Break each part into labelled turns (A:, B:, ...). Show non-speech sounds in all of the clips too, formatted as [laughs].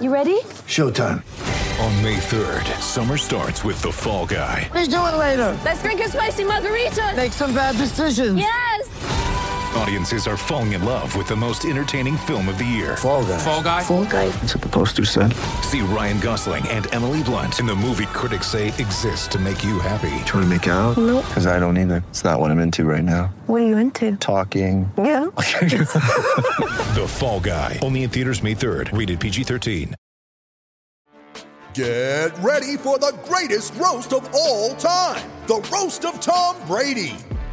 A: You ready?
B: Showtime.
C: On May 3rd, summer starts with The Fall Guy.
D: Let's do it later.
A: Let's drink a spicy margarita.
D: Make some bad decisions.
A: Yes.
C: Audiences are falling in love with the most entertaining film of the year.
B: Fall guy.
E: Fall guy.
F: Fall guy.
B: That's what the poster said.
C: See Ryan Gosling and Emily Blunt in the movie critics say exists to make you happy.
B: Trying to make it out?
F: Nope.
B: Because I don't either. It's not what I'm into right now.
F: What are you into?
B: Talking.
F: Yeah.
C: The Fall Guy. Only in theaters May 3rd. Rated PG-13.
G: Get ready for the greatest roast of all time the Roast of Tom Brady,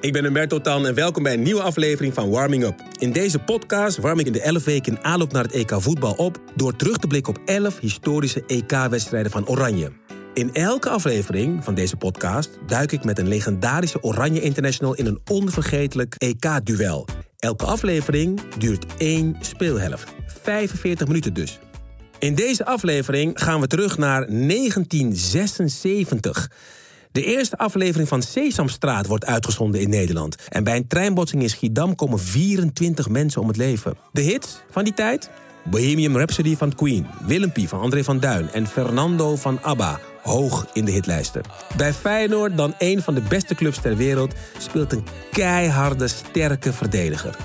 H: Ik ben Humberto Tan en welkom bij een nieuwe aflevering van Warming Up. In deze podcast warm ik in de 11 weken in aanloop naar het EK voetbal op... door terug te blikken op 11 historische EK-wedstrijden van Oranje. In elke aflevering van deze podcast duik ik met een legendarische Oranje International... in een onvergetelijk EK-duel. Elke aflevering duurt één speelhelft. 45 minuten dus. In deze aflevering gaan we terug naar 1976. De eerste aflevering van Sesamstraat wordt uitgezonden in Nederland. En bij een treinbotsing in Schiedam komen 24 mensen om het leven. De hits van die tijd? Bohemian Rhapsody van Queen, Willempie van André van Duin en Fernando van ABBA. Hoog in de hitlijsten. Bij Feyenoord, dan een van de beste clubs ter wereld, speelt een keiharde, sterke verdediger.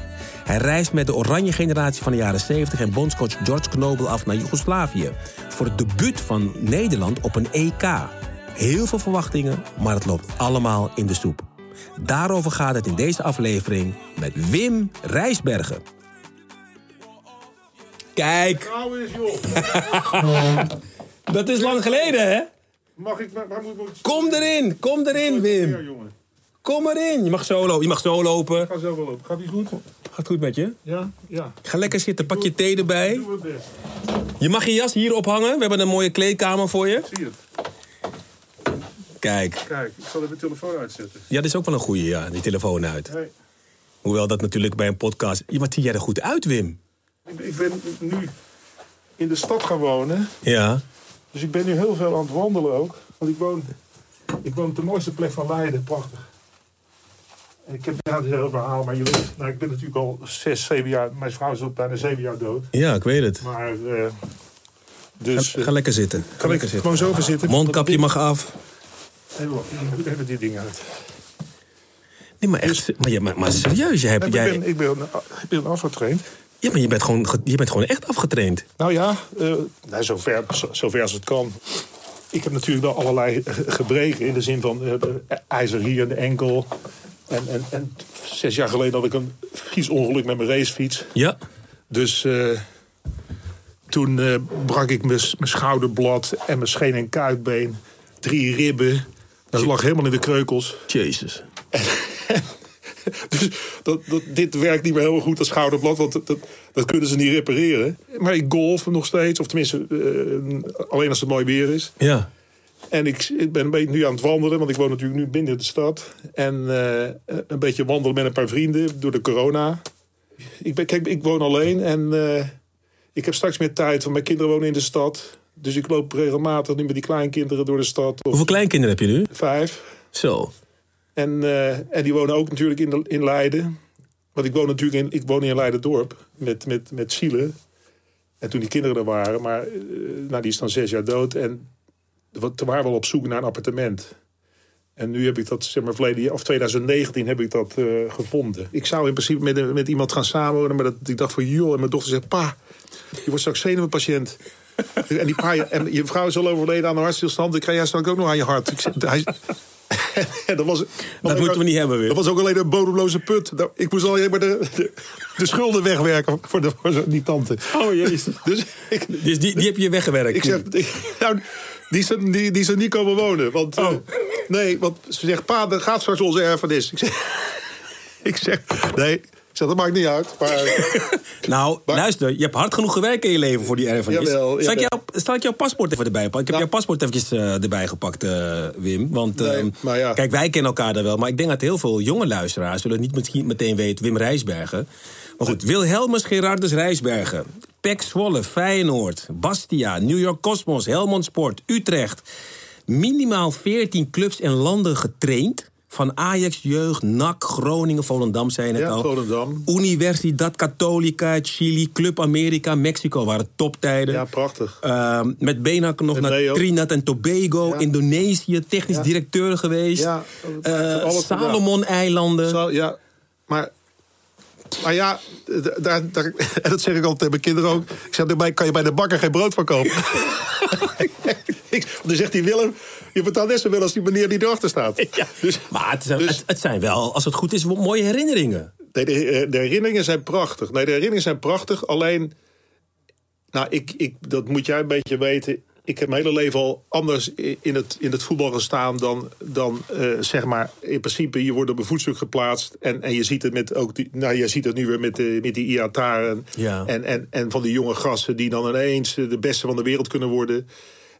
H: Hij reist met de oranje generatie van de jaren 70 en bondscoach George Knobel af naar Joegoslavië. Voor het debuut van Nederland op een EK. Heel veel verwachtingen, maar het loopt allemaal in de soep. Daarover gaat het in deze aflevering met Wim Rijsbergen. Kijk, [laughs] dat is lang geleden, hè?
I: Mag ik, maar, maar moet ik
H: Kom erin, kom erin,
I: Ja,
H: Wim.
I: jongen.
H: Kom erin. Je mag zo lopen, je mag zo lopen.
I: Ik ga zo wel lopen. Gaat die goed?
H: Gaat goed met je?
I: Ja, ja.
H: Ga lekker zitten, pak je thee erbij.
I: Doe het best.
H: Je mag je jas hier ophangen. We hebben een mooie kleedkamer voor je.
I: Zie je het?
H: Kijk,
I: Kijk, ik zal even de telefoon uitzetten.
H: ja, dit is ook wel een goeie, ja, die telefoon uit.
I: Hey,
H: Hoewel dat natuurlijk bij een podcast... Ja, wat zie jij er goed uit, Wim?
I: ik, ik ben nu in de stad gaan wonen.
H: Ja.
I: Dus ik ben nu heel veel aan het wandelen ook. Want ik woon, ik woon op de mooiste plek van Leiden. Prachtig. En Ik heb ja, het is een heel verhaal, maar je weet, nou, ik ben natuurlijk al zes, zeven jaar. Mijn vrouw is al bijna zeven jaar dood.
H: Ja, ik weet het.
I: Maar, eh, dus.
H: Ga lekker zitten.
I: kan ik gewoon zo gaan zitten?
H: Mondkapje mag af.
I: Even, wacht, ik moet even dit ding uit.
H: Nee, maar echt... Maar, ja, maar, maar serieus, je, hebt,
I: Nee, maar
H: jij,
I: ik, ben, ik, ben, ik ben afgetraind.
H: ja, maar je, bent gewoon, ge- je bent gewoon echt afgetraind.
I: Nou ja, eh, nou, zover, zo- zover als het kan. Ik heb natuurlijk wel allerlei eh, gebreken in de zin van eh, de ijzer hier in de enkel. En, en, en zes jaar geleden had ik een vies ongeluk met mijn racefiets.
H: Ja.
I: Dus eh, toen eh, brak ik mijn s- mijn schouderblad en mijn scheen- en kuitbeen. Drie ribben. Dat lag helemaal in de kreukels.
H: Jezus.
I: [laughs] Dus dat, dat, dit werkt niet meer helemaal goed, dat schouderblad, want dat, dat, dat kunnen ze niet repareren. Maar ik golf nog steeds, of tenminste eh, alleen als het mooi weer is.
H: Ja.
I: En ik, ik ben een beetje nu aan het wandelen, want ik woon natuurlijk nu binnen de stad. En eh, een beetje wandelen met een paar vrienden door de corona. Ik, ben, kijk, ik woon alleen en eh, ik heb straks meer tijd, want mijn kinderen wonen in de stad. Dus ik loop regelmatig nu met die kleinkinderen door de stad, of
H: Hoeveel kleinkinderen heb je nu?
I: vijf.
H: Zo.
I: En, eh, en die wonen ook natuurlijk in, de- in Leiden. Want ik woon natuurlijk in, ik woon in Leiden-dorp met, met, met Siele. En toen die kinderen er waren, maar eh, nou, die is dan zes jaar dood. En we toen waren we al op zoek naar een appartement. En nu heb ik dat, zeg maar, verleden jaar, of 2019 heb ik dat eh, gevonden. Ik zou in principe met, een- met iemand gaan samenwonen, maar dat, ik dacht van joh. En mijn dochter zegt: Pa, je wordt straks zenuwpatiënt. [laughs] en, die pa, en je vrouw is al overleden aan een hartstilstand. Dan krijg jij straks ook nog aan je hart. Ik zeg, hij, [laughs] dat was,
H: Dat moeten we niet hebben, Wim.
I: Dat was ook alleen een bodemloze put. Nou, ik moest alleen maar de, de, de schulden wegwerken voor, de, voor die tante.
H: Oh, jezus.
I: Dus ik,
H: Dus die, die heb je weggewerkt?
I: ik zeg, ik- nou, die zijn, die, die zijn niet komen wonen. Want, eh,
H: Oh.
I: [laughs] nee, want ze zegt, pa, dan gaat straks onze erfenis. Ik zeg, ik zeg nee, zeg, dat maakt niet uit. Maar
H: Nou,
I: Maar-
H: luister, je hebt hard genoeg gewerkt in je leven voor die erfenis.
I: Jawel,
H: zal, ik jou,
I: jawel.
H: zal ik jouw paspoort even erbij pakken? Ik heb
I: Nou.
H: jouw paspoort eventjes eh, erbij gepakt, eh, Wim. Want
I: Nee,
H: ehm,
I: maar ja.
H: kijk, wij kennen elkaar daar wel. Maar ik denk dat heel veel jonge luisteraars zullen niet misschien meteen weten Wim Rijsbergen. Maar goed, Wilhelmus Gerardus Rijsbergen. Pek Zwolle, Feyenoord, Bastia, New York Cosmos, Helmond Sport, Utrecht. Minimaal 14 clubs en landen getraind. Van Ajax, Jeugd, NAC, Groningen, Volendam zijn het
I: Ja,
H: al.
I: Volendam.
H: Universidad Catholica, Chili, Club Amerika, Mexico waren toptijden.
I: ja, prachtig.
H: Ehm, met Benak nog
I: Met
H: naar
I: Beo.
H: Trinidad en Tobago,
I: Ja.
H: Indonesië, technisch
I: Ja.
H: directeur geweest.
I: Ja,
H: Eh,
I: alles gedaan.
H: Salomon-eilanden. [laughs]
I: Zo, ja, maar... Maar ja, d- daar, daar, [laughs] en dat zeg ik altijd tegen mijn kinderen ook. Ik zeg, daarbij kan je bij de bakker geen brood van kopen. [laughs] Ik- Dan zegt die Willem, je betaalt net zoveel als die meneer die erachter staat. Dus,
H: maar het zijn,
I: dus-
H: het, het zijn wel, als het goed is, wel mooie herinneringen.
I: Nee, de, eh, de herinneringen zijn prachtig. Nee, de herinneringen zijn prachtig. Alleen, nou, ik, ik, dat moet jij een beetje weten. Ik heb mijn hele leven al anders i- in het, in het voetbal gestaan dan, dan eh, zeg maar, in principe, je wordt op een voetstuk geplaatst. En, en je ziet het met ook die, nou, je ziet het nu weer met, de, met die Iataren.
H: Ja.
I: En, en, en van die jonge gasten die dan ineens eh, de beste van de wereld kunnen worden.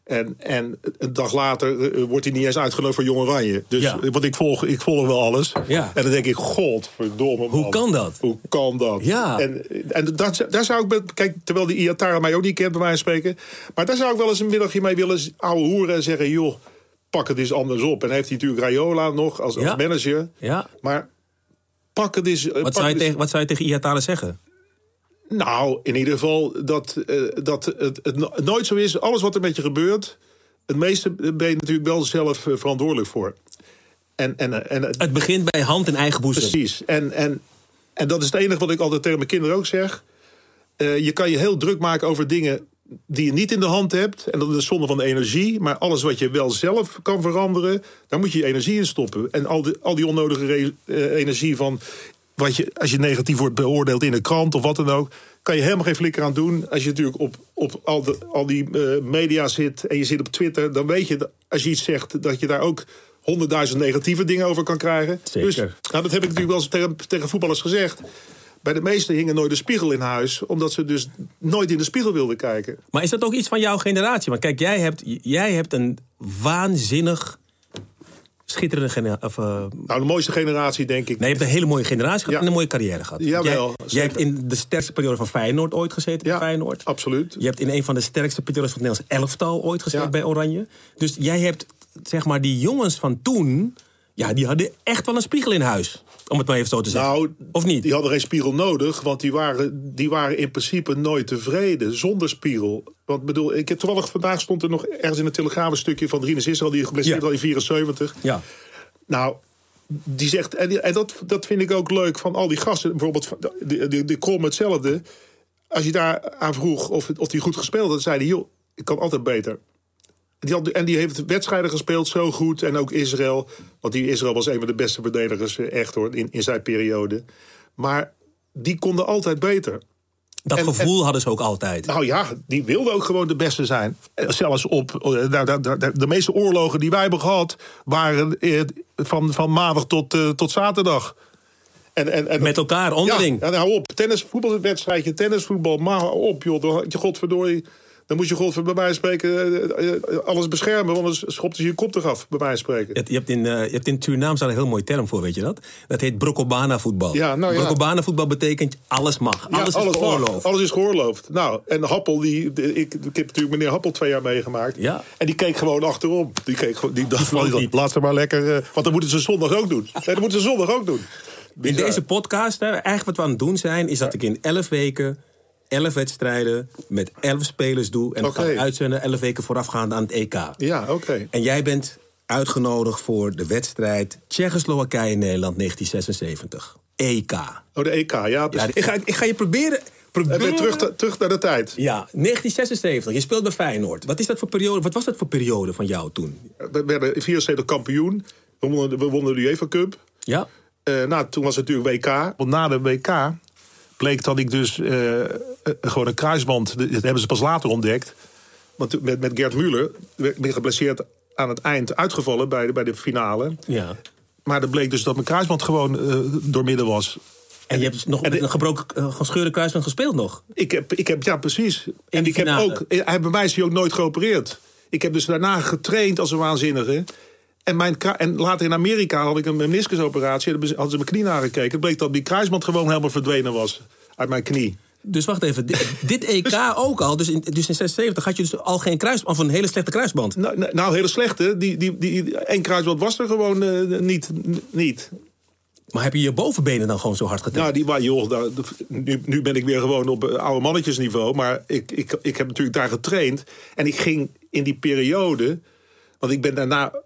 I: En, en een dag later eh, wordt hij niet eens uitgenodigd voor Jong Oranje. Dus,
H: Ja.
I: Want ik volg, ik volg wel alles.
H: Ja.
I: En dan denk ik, godverdomme
H: Hoe
I: man.
H: kan dat?
I: Hoe kan dat?
H: Ja.
I: En, en dat, daar zou ik, met- kijk, terwijl die Iatara mij ook niet kent, bij wijze van spreken. Maar daar zou ik wel eens een middagje mee willen z- ouwe hoeren en zeggen: joh, pak het eens anders op. En dan heeft hij natuurlijk Rayola nog als,
H: Ja.
I: als manager.
H: Ja.
I: Maar pak het eens.
H: Wat, zou je, tegen, wat zou je tegen Iataren zeggen?
I: Nou, in ieder geval dat, eh, dat het, het no- nooit zo is. Alles wat er met je gebeurt, het meeste ben je natuurlijk wel zelf eh, verantwoordelijk voor. En, en, eh, en het-
H: Het begint bij hand en eigen boezem.
I: Precies. En, en, en dat is het enige wat ik altijd tegen mijn kinderen ook zeg. Eh, je kan je heel druk maken over dingen die je niet in de hand hebt. En dat is zonde van de energie. Maar alles wat je wel zelf kan veranderen, daar moet je je energie in stoppen. En al die, al die onnodige re- eh, energie van. Wat je, als je negatief wordt beoordeeld in een krant of wat dan ook. kan je helemaal geen flikker aan doen. Als je natuurlijk op, op al, de, al die eh, media zit. en je zit op Twitter. dan weet je dat als je iets zegt. dat je daar ook honderdduizend negatieve dingen over kan krijgen.
H: Zeker.
I: Dus nou, dat heb ik natuurlijk wel eens tegen, tegen voetballers gezegd. Bij de meesten hingen nooit de spiegel in huis, omdat ze dus nooit in de spiegel wilden kijken.
H: Maar is dat ook iets van jouw generatie? Want kijk, jij hebt, jij hebt een waanzinnig schitterende generatie. Of, eh,
I: Nou, de mooiste generatie, denk ik.
H: Nee, je hebt een hele mooie generatie gehad
I: Ja.
H: en een mooie carrière gehad.
I: Jawel,
H: jij,
I: zeker.
H: jij hebt in de sterkste periode van Feyenoord ooit gezeten. bij
I: Ja,
H: Feyenoord.
I: absoluut.
H: Je hebt in een van de sterkste periodes van het Nederlands elftal ooit gezeten
I: Ja.
H: bij Oranje. Dus jij hebt, zeg maar, die jongens van toen... Ja, die hadden echt wel een spiegel in huis. Om het maar even zo te zeggen.
I: Nou,
H: of niet?
I: Die hadden geen spiegel nodig, want die waren, die waren in principe nooit tevreden zonder spiegel. Want bedoel, ik heb toevallig vandaag stond er nog ergens in een telegraaf een stukje van Rinus Israël, die geblesseerd
H: Ja.
I: al in 74.
H: Ja.
I: Nou, die zegt, en, die- en dat, dat vind ik ook leuk van al die gasten. Bijvoorbeeld van- de, de, de Krom hetzelfde. Als je daar aan vroeg of, of die goed gespeeld had, zei hij, joh, ik kan altijd beter. Die had, en die heeft wedstrijden gespeeld zo goed. En ook Israël. Want die Israël was een van de beste verdedigers, eh, echt hoor, in, in zijn periode. Maar die konden altijd beter.
H: Dat
I: en-
H: gevoel hadden ze ook altijd.
I: Nou ja, die wilden ook gewoon de beste zijn. Eh, Zelfs op eh, nou, nou, nou, de meeste oorlogen die wij hebben gehad, waren eh, van, van maandag tot, eh, tot zaterdag. En, en, en,
H: Met elkaar, onderling.
I: Ja, en hou op. Tennis, voetbalwedstrijdje, tennisvoetbal, maar hou op, joh. Dan had je godverdorie. Dan moet je godverdorie bij wijze van spreken eh, eh, alles beschermen, want anders schopte je je kop eraf, bij wijze van spreken.
H: Het- Je hebt in, eh, je hebt in Suriname staat een heel mooi term voor, weet je dat? Dat heet Broccobana voetbal.
I: Ja, nou ja.
H: Broccobana voetbal betekent alles mag.
I: Ja,
H: alles is
I: mag.
H: geoorloofd.
I: Alles is geoorloofd. Nou, en Happel, die, de- ik, ik heb natuurlijk meneer Happel twee jaar meegemaakt.
H: Ja.
I: En die keek gewoon achterom. Die, keek, gewoon- die dacht,
H: vloog
I: van,
H: niet.
I: laat ze maar lekker... eh, want dat moeten ze zondag ook doen. Nee, dat moeten ze zondag ook doen.
H: In
I: Bizar.
H: deze podcast, hè, eigenlijk wat we aan het doen zijn, is dat ik in 11 weken 11 wedstrijden met 11 spelers doe. En dat
I: Oké.
H: ga ik uitzenden 11 weken voorafgaand aan het EK.
I: Ja, oké.
H: En jij bent uitgenodigd voor de wedstrijd Tsjechoslowakije-Nederland 1976. EK.
I: Oh, de EK, ja.
H: E Ja,
I: precies.
H: ik, ga, ik ga je proberen.
I: En
H: proberen...
I: weer terug, te- terug naar de tijd.
H: Ja, 1976. Je speelt bij Feyenoord. Wat, is dat voor periode, wat was dat voor periode van jou toen?
I: We werden in 74 kampioen. We wonnen, we wonnen de UEFA Cup.
H: Ja?
I: Eh, nou, toen was het natuurlijk WK. Want na de WK bleek dat ik dus eh, eh, gewoon een kruisband... Dat hebben ze pas later ontdekt. Want toen- met, met Gert Muller werd- ben ik geblesseerd aan het eind uitgevallen bij de, bij de finale.
H: Ja.
I: Maar dat bleek dus dat mijn kruisband gewoon eh doormidden was.
H: En je hebt nog met een gebroken, eh, gescheurde kruisband gespeeld nog.
I: Ik heb, ik heb ja, precies. en
H: die
I: ik heb
H: finale.
I: ook, hij, bij mij is hij ook nooit geopereerd. Ik heb dus daarna getraind als een waanzinnige. En, mijn, kra- en later in Amerika had ik een meniscusoperatie. En dan hadden ze mijn knie nagekeken. Het bleek dat die kruisband gewoon helemaal verdwenen was. Uit mijn knie.
H: Dus wacht even, dit,
I: [laughs]
H: dit EK ook al. Dus in, dus in 76 had je dus al geen kruisband, of een hele slechte kruisband.
I: Nou, nou, nou, hele slechte. Die, die, die, één kruisband was er gewoon eh, niet, niet.
H: Maar heb je je bovenbenen dan gewoon zo hard getraind?
I: Nou, die wa- joh, nou, de- nu, nu ben ik weer gewoon op eh, oude mannetjesniveau. Maar ik, ik, ik heb natuurlijk daar getraind. En ik ging in die periode. Want ik ben daarna.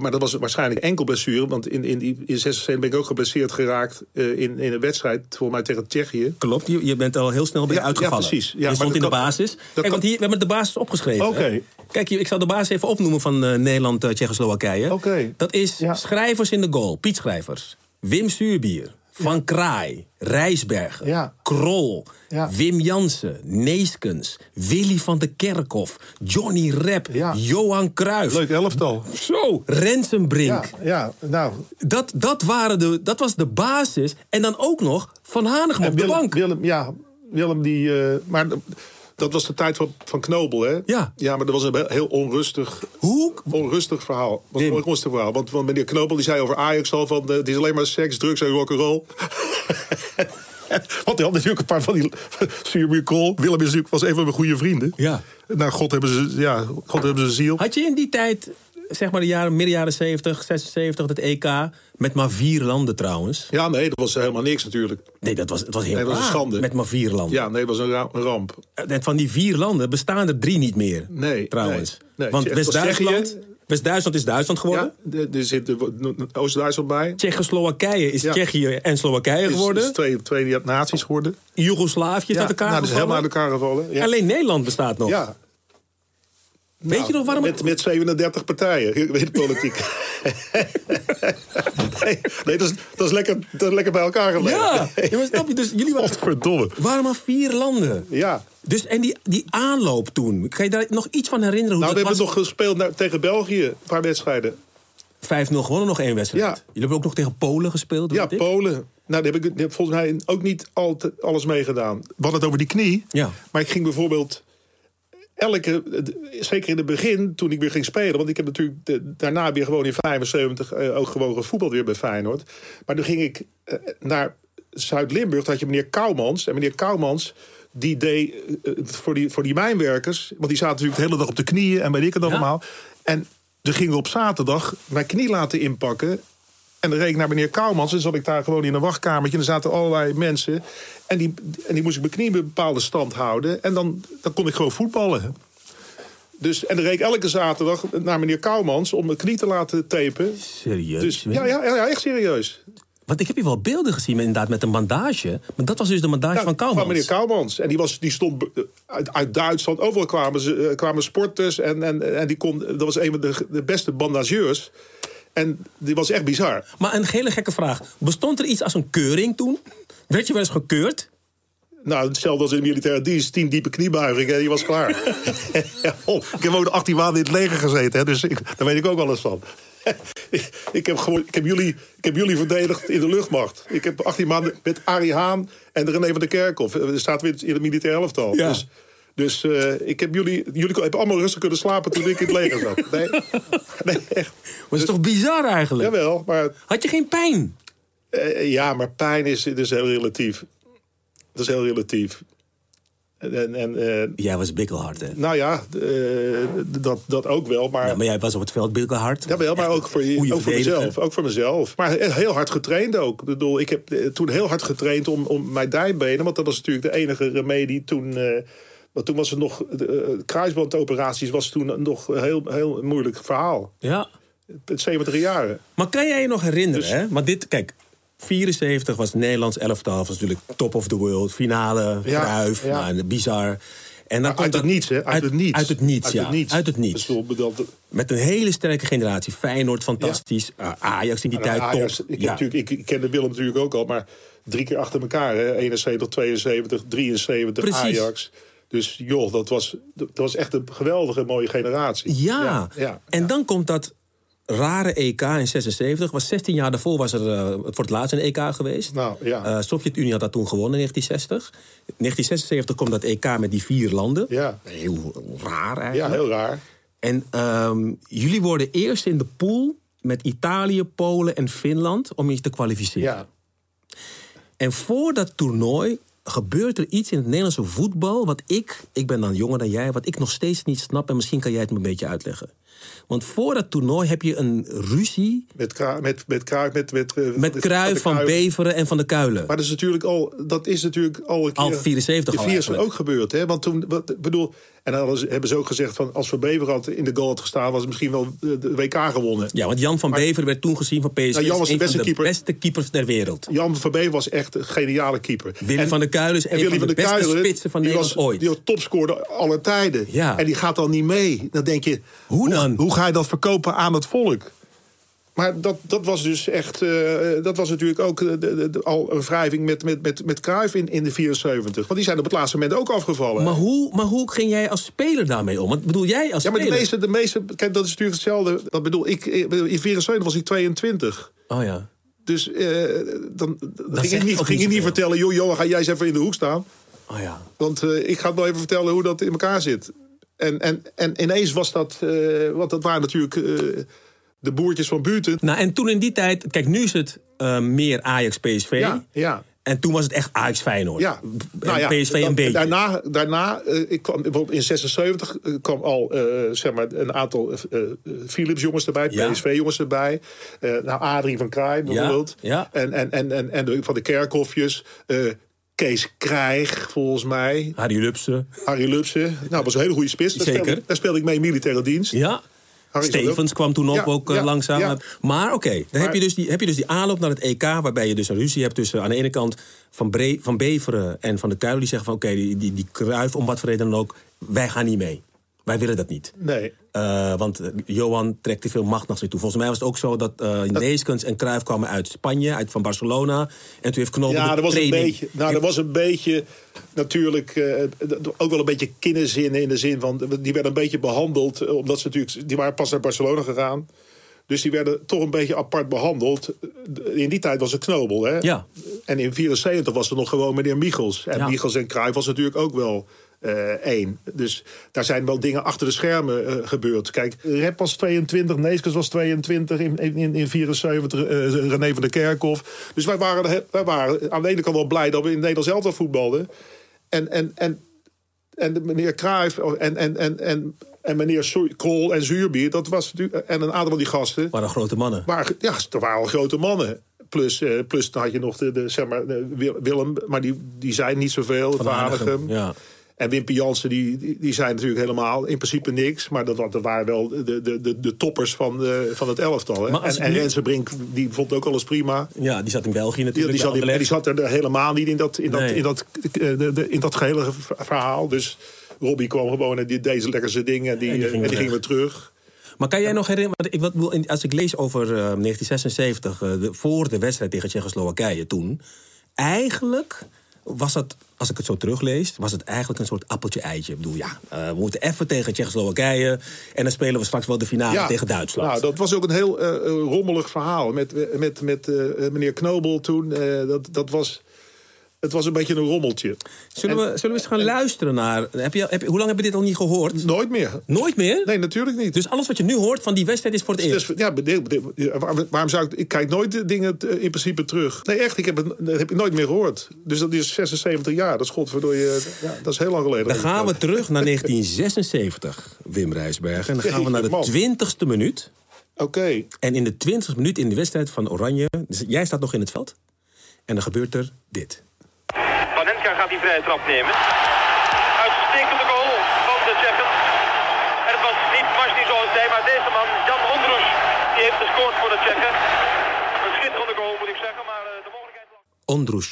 I: Maar dat was waarschijnlijk enkel blessure. Want in, in, die, in 76 ben ik ook geblesseerd geraakt. eh, in, in een wedstrijd, volgens mij tegen Tsjechië.
H: Klopt, je, je bent al heel snel weer
I: Ja, ja,
H: uitgevallen.
I: precies. Ja,
H: je
I: maar
H: stond in
I: dat
H: de
I: kan-
H: basis. Kijk,
I: kan-
H: want hier, we hebben de basis opgeschreven.
I: Oké.
H: hè. Kijk, hier, ik zal de basis even opnoemen van eh, Nederland, eh, Tsjechoslowakije.
I: Oké.
H: Dat is
I: Ja.
H: Schrijvers in de Goal, Piet Schrijvers. Wim Suurbier, Van Kraai, Rijsbergen,
I: Ja.
H: Krol,
I: Ja.
H: Wim Jansen, Neeskens, Willy van de Kerkhof, Johnny Rep,
I: Ja.
H: Johan Cruijff.
I: Leuk elftal.
H: Zo, Rensenbrink.
I: ja, nou.
H: Dat, dat, waren de, dat was de basis. En dan ook nog Van Hanegem op de bank.
I: Willem, ja, Willem die. eh, maar dat was de tijd van, van Knobel, hè?
H: Ja.
I: Ja, maar dat was een heel- heel onrustig
H: Hoe
I: Onrustig verhaal. Wat
H: Wim.
I: een onrustig verhaal. Want, want meneer Knopel die zei over Ajax al van... eh, het is alleen maar seks, drugs en rock'n'roll. [laughs] want hij had natuurlijk een paar van die... Suurmuur Krol. Willem is natuurlijk, was een van mijn goede vrienden.
H: Ja.
I: Nou, God hebben ze, ja, God hebben ze ziel.
H: Had je in die tijd, zeg maar de jaren, midden jaren 70, 76, dat EK, met maar vier landen trouwens.
I: Ja, nee, dat was helemaal niks natuurlijk.
H: Nee, dat was, het was heel
I: Nee, dat was een
H: raar,
I: schande.
H: Met maar vier landen.
I: Ja, nee, dat was een, ra- een ramp.
H: En van die vier landen bestaan er drie niet meer.
I: Nee,
H: Trouwens.
I: nee, nee.
H: Want
I: Tsje-
H: West-Duitsland
I: Tsjechië.
H: West-Duitsland is Duitsland geworden.
I: Ja, er er zit eh, Oost-Duitsland bij.
H: Tsjechoslowakije is
I: Ja.
H: Tsjechië en Slowakije
I: Is, is
H: geworden.
I: twee, twee naties geworden.
H: Joegoslavië is uit elkaar
I: nou, dat is
H: gevallen.
I: helemaal uit elkaar gevallen. Ja.
H: Alleen Nederland bestaat nog.
I: ja.
H: Weet je
I: Nou,
H: nog waarom...
I: Met, met 37 partijen in de
H: [laughs]
I: politiek. nee, nee dat, is, dat, is lekker, dat is lekker bij elkaar gebleven.
H: ja, [laughs] ja, maar snap je? Dus jullie waren,
I: Godverdomme.
H: waren maar vier landen.
I: Ja. Nou,
H: Dus en die, die aanloop toen, kan je daar nog iets van herinneren? Hoe
I: Nou, we
H: dat
I: hebben nog
H: was?
I: gespeeld naar- tegen België. Een paar wedstrijden.
H: 5-0 gewonnen, nog één wedstrijd.
I: Ja.
H: Jullie hebben ook nog tegen Polen gespeeld?
I: Ja,
H: weet ik.
I: Polen. Nou, daar heb ik daar heb ik volgens mij ook niet al te- alles meegedaan. We hadden het over die knie.
H: Ja.
I: Maar ik ging bijvoorbeeld elke, zeker in het begin, toen ik weer ging spelen. Want ik heb natuurlijk de- daarna weer gewoon in 75 eh, ook gewoon gevoetbald weer bij Feyenoord. Maar toen ging ik eh, naar Zuid-Limburg. Daar had je meneer Kouwmans. En meneer Kouwmans, die deed eh, eh, voor, die, voor die mijnwerkers. Want die zaten natuurlijk de hele dag op de knieën en weet ik het allemaal. En ze gingen op zaterdag mijn knie laten inpakken. En dan reed ik naar meneer Kouwmans en zat ik daar gewoon in een wachtkamertje. En er zaten allerlei mensen. En die, en die moest ik mijn knie bij een bepaalde stand houden. En dan, dan kon ik gewoon voetballen. Dus, en dan reed ik elke zaterdag naar meneer Kouwmans om mijn knie te laten tapen.
H: Serieus?
I: Dus
H: Wim?
I: ja, ja, ja, ja, echt serieus.
H: Want ik heb hier wel beelden gezien met- inderdaad met een bandage. Maar dat was dus de bandage
I: Ja,
H: van Kouwmans.
I: Nou, Van meneer Kouwmans. En die, was, die stond eh, uit, uit Duitsland. Overal kwamen, ze, eh, kwamen sporters. En, en, en die kon, dat was een van de, de beste bandageurs. En die was echt bizar.
H: Maar een hele gekke vraag. Bestond er iets als een keuring toen? Werd je wel eens gekeurd?
I: Nou, hetzelfde als in de militaire dienst. Tien diepe kniebuigingen en je was klaar. Oh, ik heb ook 18 maanden in het leger gezeten, hè, dus ik, daar weet ik ook alles van. [laughs] ik, ik heb gewoon, ik, heb jullie, ik heb jullie verdedigd in de luchtmacht. Ik heb 18 maanden met Arie Haan en René van der Kerkhoff. Eh, Er staat weer in het militair elftal.
H: Ja.
I: Dus, dus eh, ik heb jullie, jullie hebben allemaal rustig kunnen slapen toen ik in het leger zat. Nee, nee echt.
H: Maar dat is toch bizar eigenlijk?
I: Dus- Jawel, maar
H: Had je geen pijn?
I: eh, ja, maar pijn is, is heel relatief. Dat is heel relatief. En, en, eh,
H: Jij was bikkelhard, hè?
I: nou ja, eh, dat, dat ook wel, maar...
H: Ja, maar jij was op het veld bikkelhard.
I: Ja, wel, maar ook voor, je,
H: Goeie
I: ook voor
H: verdediger.
I: mezelf. Ook voor mezelf. Maar heel hard getraind ook. Ik bedoel, ik heb eh, toen heel hard getraind om, om mijn dijbenen. Want dat was natuurlijk de enige remedie toen. eh, want toen was het nog. de, eh, kruisbandoperaties was toen nog een heel, heel moeilijk verhaal.
H: Ja.
I: Het 70 jaren.
H: Maar kan jij je nog herinneren,
I: Dus-
H: hè? Want dit, kijk, 74 was het Nederlands elftal, was natuurlijk top of the world, finale,
I: Ja,
H: Cruijff,
I: ja.
H: nou, bizar. En dan komt
I: Uit het
H: dat-
I: niets, hè? Uit, het niets.
H: Uit het niets, ja. Uit het niets.
I: Ik bedoel, dat-
H: Met een hele sterke generatie. Feyenoord, fantastisch. Eh, Ajax in die tijd,
I: Ja, Nou,
H: top.
I: Ajax, ik, heb
H: Ja.
I: natuurlijk, ik, ik kende Willem natuurlijk ook al, maar drie keer achter elkaar. Hè? 71, 72, 73,
H: Precies.
I: Ajax. Dus joh, dat was, dat was echt een geweldige, mooie generatie.
H: Ja.
I: ja,
H: en dan komt dat rare EK in 76. Was 16 jaar daarvoor was er eh, voor het laatst een EK geweest.
I: Nou, ja.
H: Eh, Sovjet-Unie had dat toen gewonnen in 1960. In 1976 komt dat EK met die vier landen.
I: Ja.
H: Heel raar eigenlijk.
I: Ja, heel raar.
H: En ehm, jullie worden eerst in de pool met Italië, Polen en Finland om je te kwalificeren.
I: Ja.
H: En voor dat toernooi gebeurt er iets in het Nederlandse voetbal... wat ik, ik ben dan jonger dan jij, wat ik nog steeds niet snap... en misschien kan jij het me een beetje uitleggen. Want voor dat toernooi heb je een ruzie
I: Met, Kra- met, met, Kra- met, met, eh,
H: met
I: de-
H: Kruijf,
I: de
H: Van
I: Cruijff.
H: Beveren en Van de Kuilen.
I: Maar dat is natuurlijk al, dat is natuurlijk al een keer...
H: Al 74
I: de
H: al
I: vier is
H: eigenlijk.
I: ook gebeurd, hè? Want toen, wat, ik bedoel, en dan hadden ze- hebben ze ook gezegd van... als Van Beveren had in de goal had gestaan, was het misschien wel de, de WK gewonnen.
H: Ja, want Jan van Beveren werd toen gezien van PSV...
I: Nou, Jan was de
H: een
I: beste
H: van de
I: keeper.
H: beste keepers ter wereld.
I: Jan van Beveren was echt een geniale keeper.
H: Willy van der Kuilen is een van de beste spitsen van
I: die
H: Nederland
I: was,
H: ooit.
I: Die was topscorer aller tijden.
H: Ja.
I: En die gaat dan niet mee. Dan denk je,
H: Hoe dan?
I: Hoe ga je dat verkopen aan het volk? Maar dat, dat was dus echt. eh, dat was natuurlijk ook eh, de- de- de- al een wrijving met, met, met, met Cruijff in, in de 74. Want die zijn op het laatste moment ook afgevallen.
H: Maar hoe, maar hoe ging jij als speler daarmee om? Want bedoel jij als
I: ja, maar de
H: speler...
I: meeste, de meeste. Kijk, dat is natuurlijk hetzelfde. Dat bedoel, ik, eh, in 74 was ik 22.
H: Oh ja.
I: Dus eh, dan, ging
H: zegt
I: ik niet,
H: ook niet
I: ging ik niet
H: zoveel.
I: vertellen. joh, Johan, ga jij eens even in de hoek staan.
H: Oh ja.
I: Want eh, ik ga het wel even vertellen hoe dat in elkaar zit. En, en, en ineens was dat, eh, want dat waren natuurlijk eh, de boertjes van buiten.
H: Nou, en toen in die tijd... Kijk, nu is het eh, meer Ajax-PSV.
I: Ja, ja.
H: En toen was het echt Ajax-Feyenoord.
I: Ja,
H: En
I: nou ja,
H: PSV
I: dan-
H: een beetje.
I: Daarna, daarna eh, ik kwam, bijvoorbeeld in 76 kwam al eh, zeg maar een aantal eh, eh, Philips jongens erbij,
H: Ja.
I: PSV jongens erbij. Eh, nou, Adrie van Kraai bijvoorbeeld.
H: ja.
I: En, en, en, en, en de- van de Kerkhofjes. eh, Kees Krijg, volgens mij.
H: Harry Lubsen.
I: Harry Lubsen. Nou, was een hele goede spits. Daar
H: Zeker.
I: Speelde, ik- daar speelde ik mee in militaire dienst.
H: Ja.
I: Harry zat
H: Stevens
I: ook-
H: kwam toen op
I: Ja,
H: ook eh,
I: ja,
H: langzaam.
I: ja.
H: Maar oké, dan heb, je dus die, heb je dus die aanloop naar het EK... waarbij je dus een ruzie hebt tussen aan de ene kant Van, Bre van Beveren en Van de Kuil... die zeggen van oké, die, die, die Kruif, om wat voor reden dan ook... wij gaan niet mee. Wij willen dat niet.
I: Nee.
H: Eh, want eh, Johan trekt te veel macht naar zich toe. Volgens mij was het ook zo dat eh Neeskens en Cruijff kwamen uit Spanje, uit van Barcelona. En toen heeft Knol
I: Ja,
H: de
I: dat was een
H: training-
I: beetje. Nou, dat was een beetje natuurlijk eh, d- ook wel een beetje kinderzinnen in de zin van die werden een beetje behandeld eh, omdat ze natuurlijk die waren pas naar Barcelona gegaan. Dus die werden toch een beetje apart behandeld. Eh, In die tijd was het knobel, hè?
H: Ja.
I: En in 74 was er nog gewoon meneer Michels. En
H: Ja.
I: Michels en Cruijff was natuurlijk ook wel eh, één. Dus daar zijn wel dingen achter de schermen eh, gebeurd. Kijk, Rep was 22, Neeskens was 22 in, in, in 74, eh, René van der Kerkhof. Dus wij waren, he- wij waren aan de ene kant wel blij dat we in Nederland zelf al voetbalden. En, en, en, en de meneer Cruijff oh, en, en, en, en, en meneer Soe- Krol en Zuurbier... Dat was, natuurlijk- en een aantal van die gasten...
H: waren grote mannen.
I: Maar ja, er waren al grote mannen. Plus, eh, plus dan had je nog de, de, zeg maar, de Wil- Willem, maar die, die zijn niet zoveel. Van
H: Hanegem,
I: Hanegem.
H: ja.
I: En Wimpy Jansen, die, die, die zijn natuurlijk helemaal in principe niks. Maar dat, wa- dat waren wel de, de, de, de toppers van, eh, van het elftal. Hè?
H: Maar als
I: En, en
H: nu-
I: Renze Brink, die vond ook alles prima.
H: Ja, die zat in België
I: Die,
H: natuurlijk.
I: die, zat,
H: bij
I: in- die
H: Anderlecht.
I: zat er helemaal niet in dat, in dat,
H: Nee.
I: in dat, eh, de- de- in dat gehele ver- verhaal. Dus Robbie kwam gewoon en die deed zijn lekkerste dingen. En die,
H: En die
I: eh,
H: ging
I: en
H: weg.
I: die ging weer terug.
H: Maar kan jij nog herinneren, want ik, wat, wil- in- als ik lees over eh, 1976, eh, de- voor de wedstrijd tegen Tsjechoslowakije toen. Eigenlijk was dat, als ik het zo teruglees, was het eigenlijk een soort appeltje-eitje. Ik bedoel, ja, eh, we moeten even tegen Tsjechoslowakije. En dan spelen we straks wel de finale tegen Duitsland.
I: Nou, dat was ook een heel eh, eh, rommelig verhaal met, met, met eh, meneer Knobel toen. eh, dat, dat was, het was een beetje een rommeltje.
H: Zullen, we, zullen we eens gaan luisteren naar. Heb je, heb, je- hoe lang heb je dit al niet gehoord?
I: Nooit meer.
H: Nooit meer?
I: Nee, natuurlijk niet.
H: Dus alles wat je nu hoort van die wedstrijd is voor het eerst.
I: Dus, ja, bede- bede- waarom, waarom zou ik... Ik kijk nooit de dingen eh, in principe terug. Nee, echt, ik heb het, dat heb ik nooit meer gehoord. Dus dat is 76 jaar. Dat is godverdorie... eh, Ja, dat is heel lang geleden.
H: Dan gaan we terug
I: [laughs]
H: naar 1976, Wim Rijsberg. En dan gaan we naar de
I: Man.
H: 20ste minuut.
I: Oké.
H: En in de 20ste minuut in de wedstrijd van Oranje. dus jij staat nog in het veld. En dan gebeurt er dit.
E: Van Henka gaat die vrije trap nemen. Uitstekende goal van de Tsjechen. En het was niet Masni zoals het zei, maar deze man, Jan Ondroes, die heeft gescoord voor de Tsjechen. Een schitterende goal moet ik zeggen, maar eh, de mogelijkheid lag...
H: Ondroes.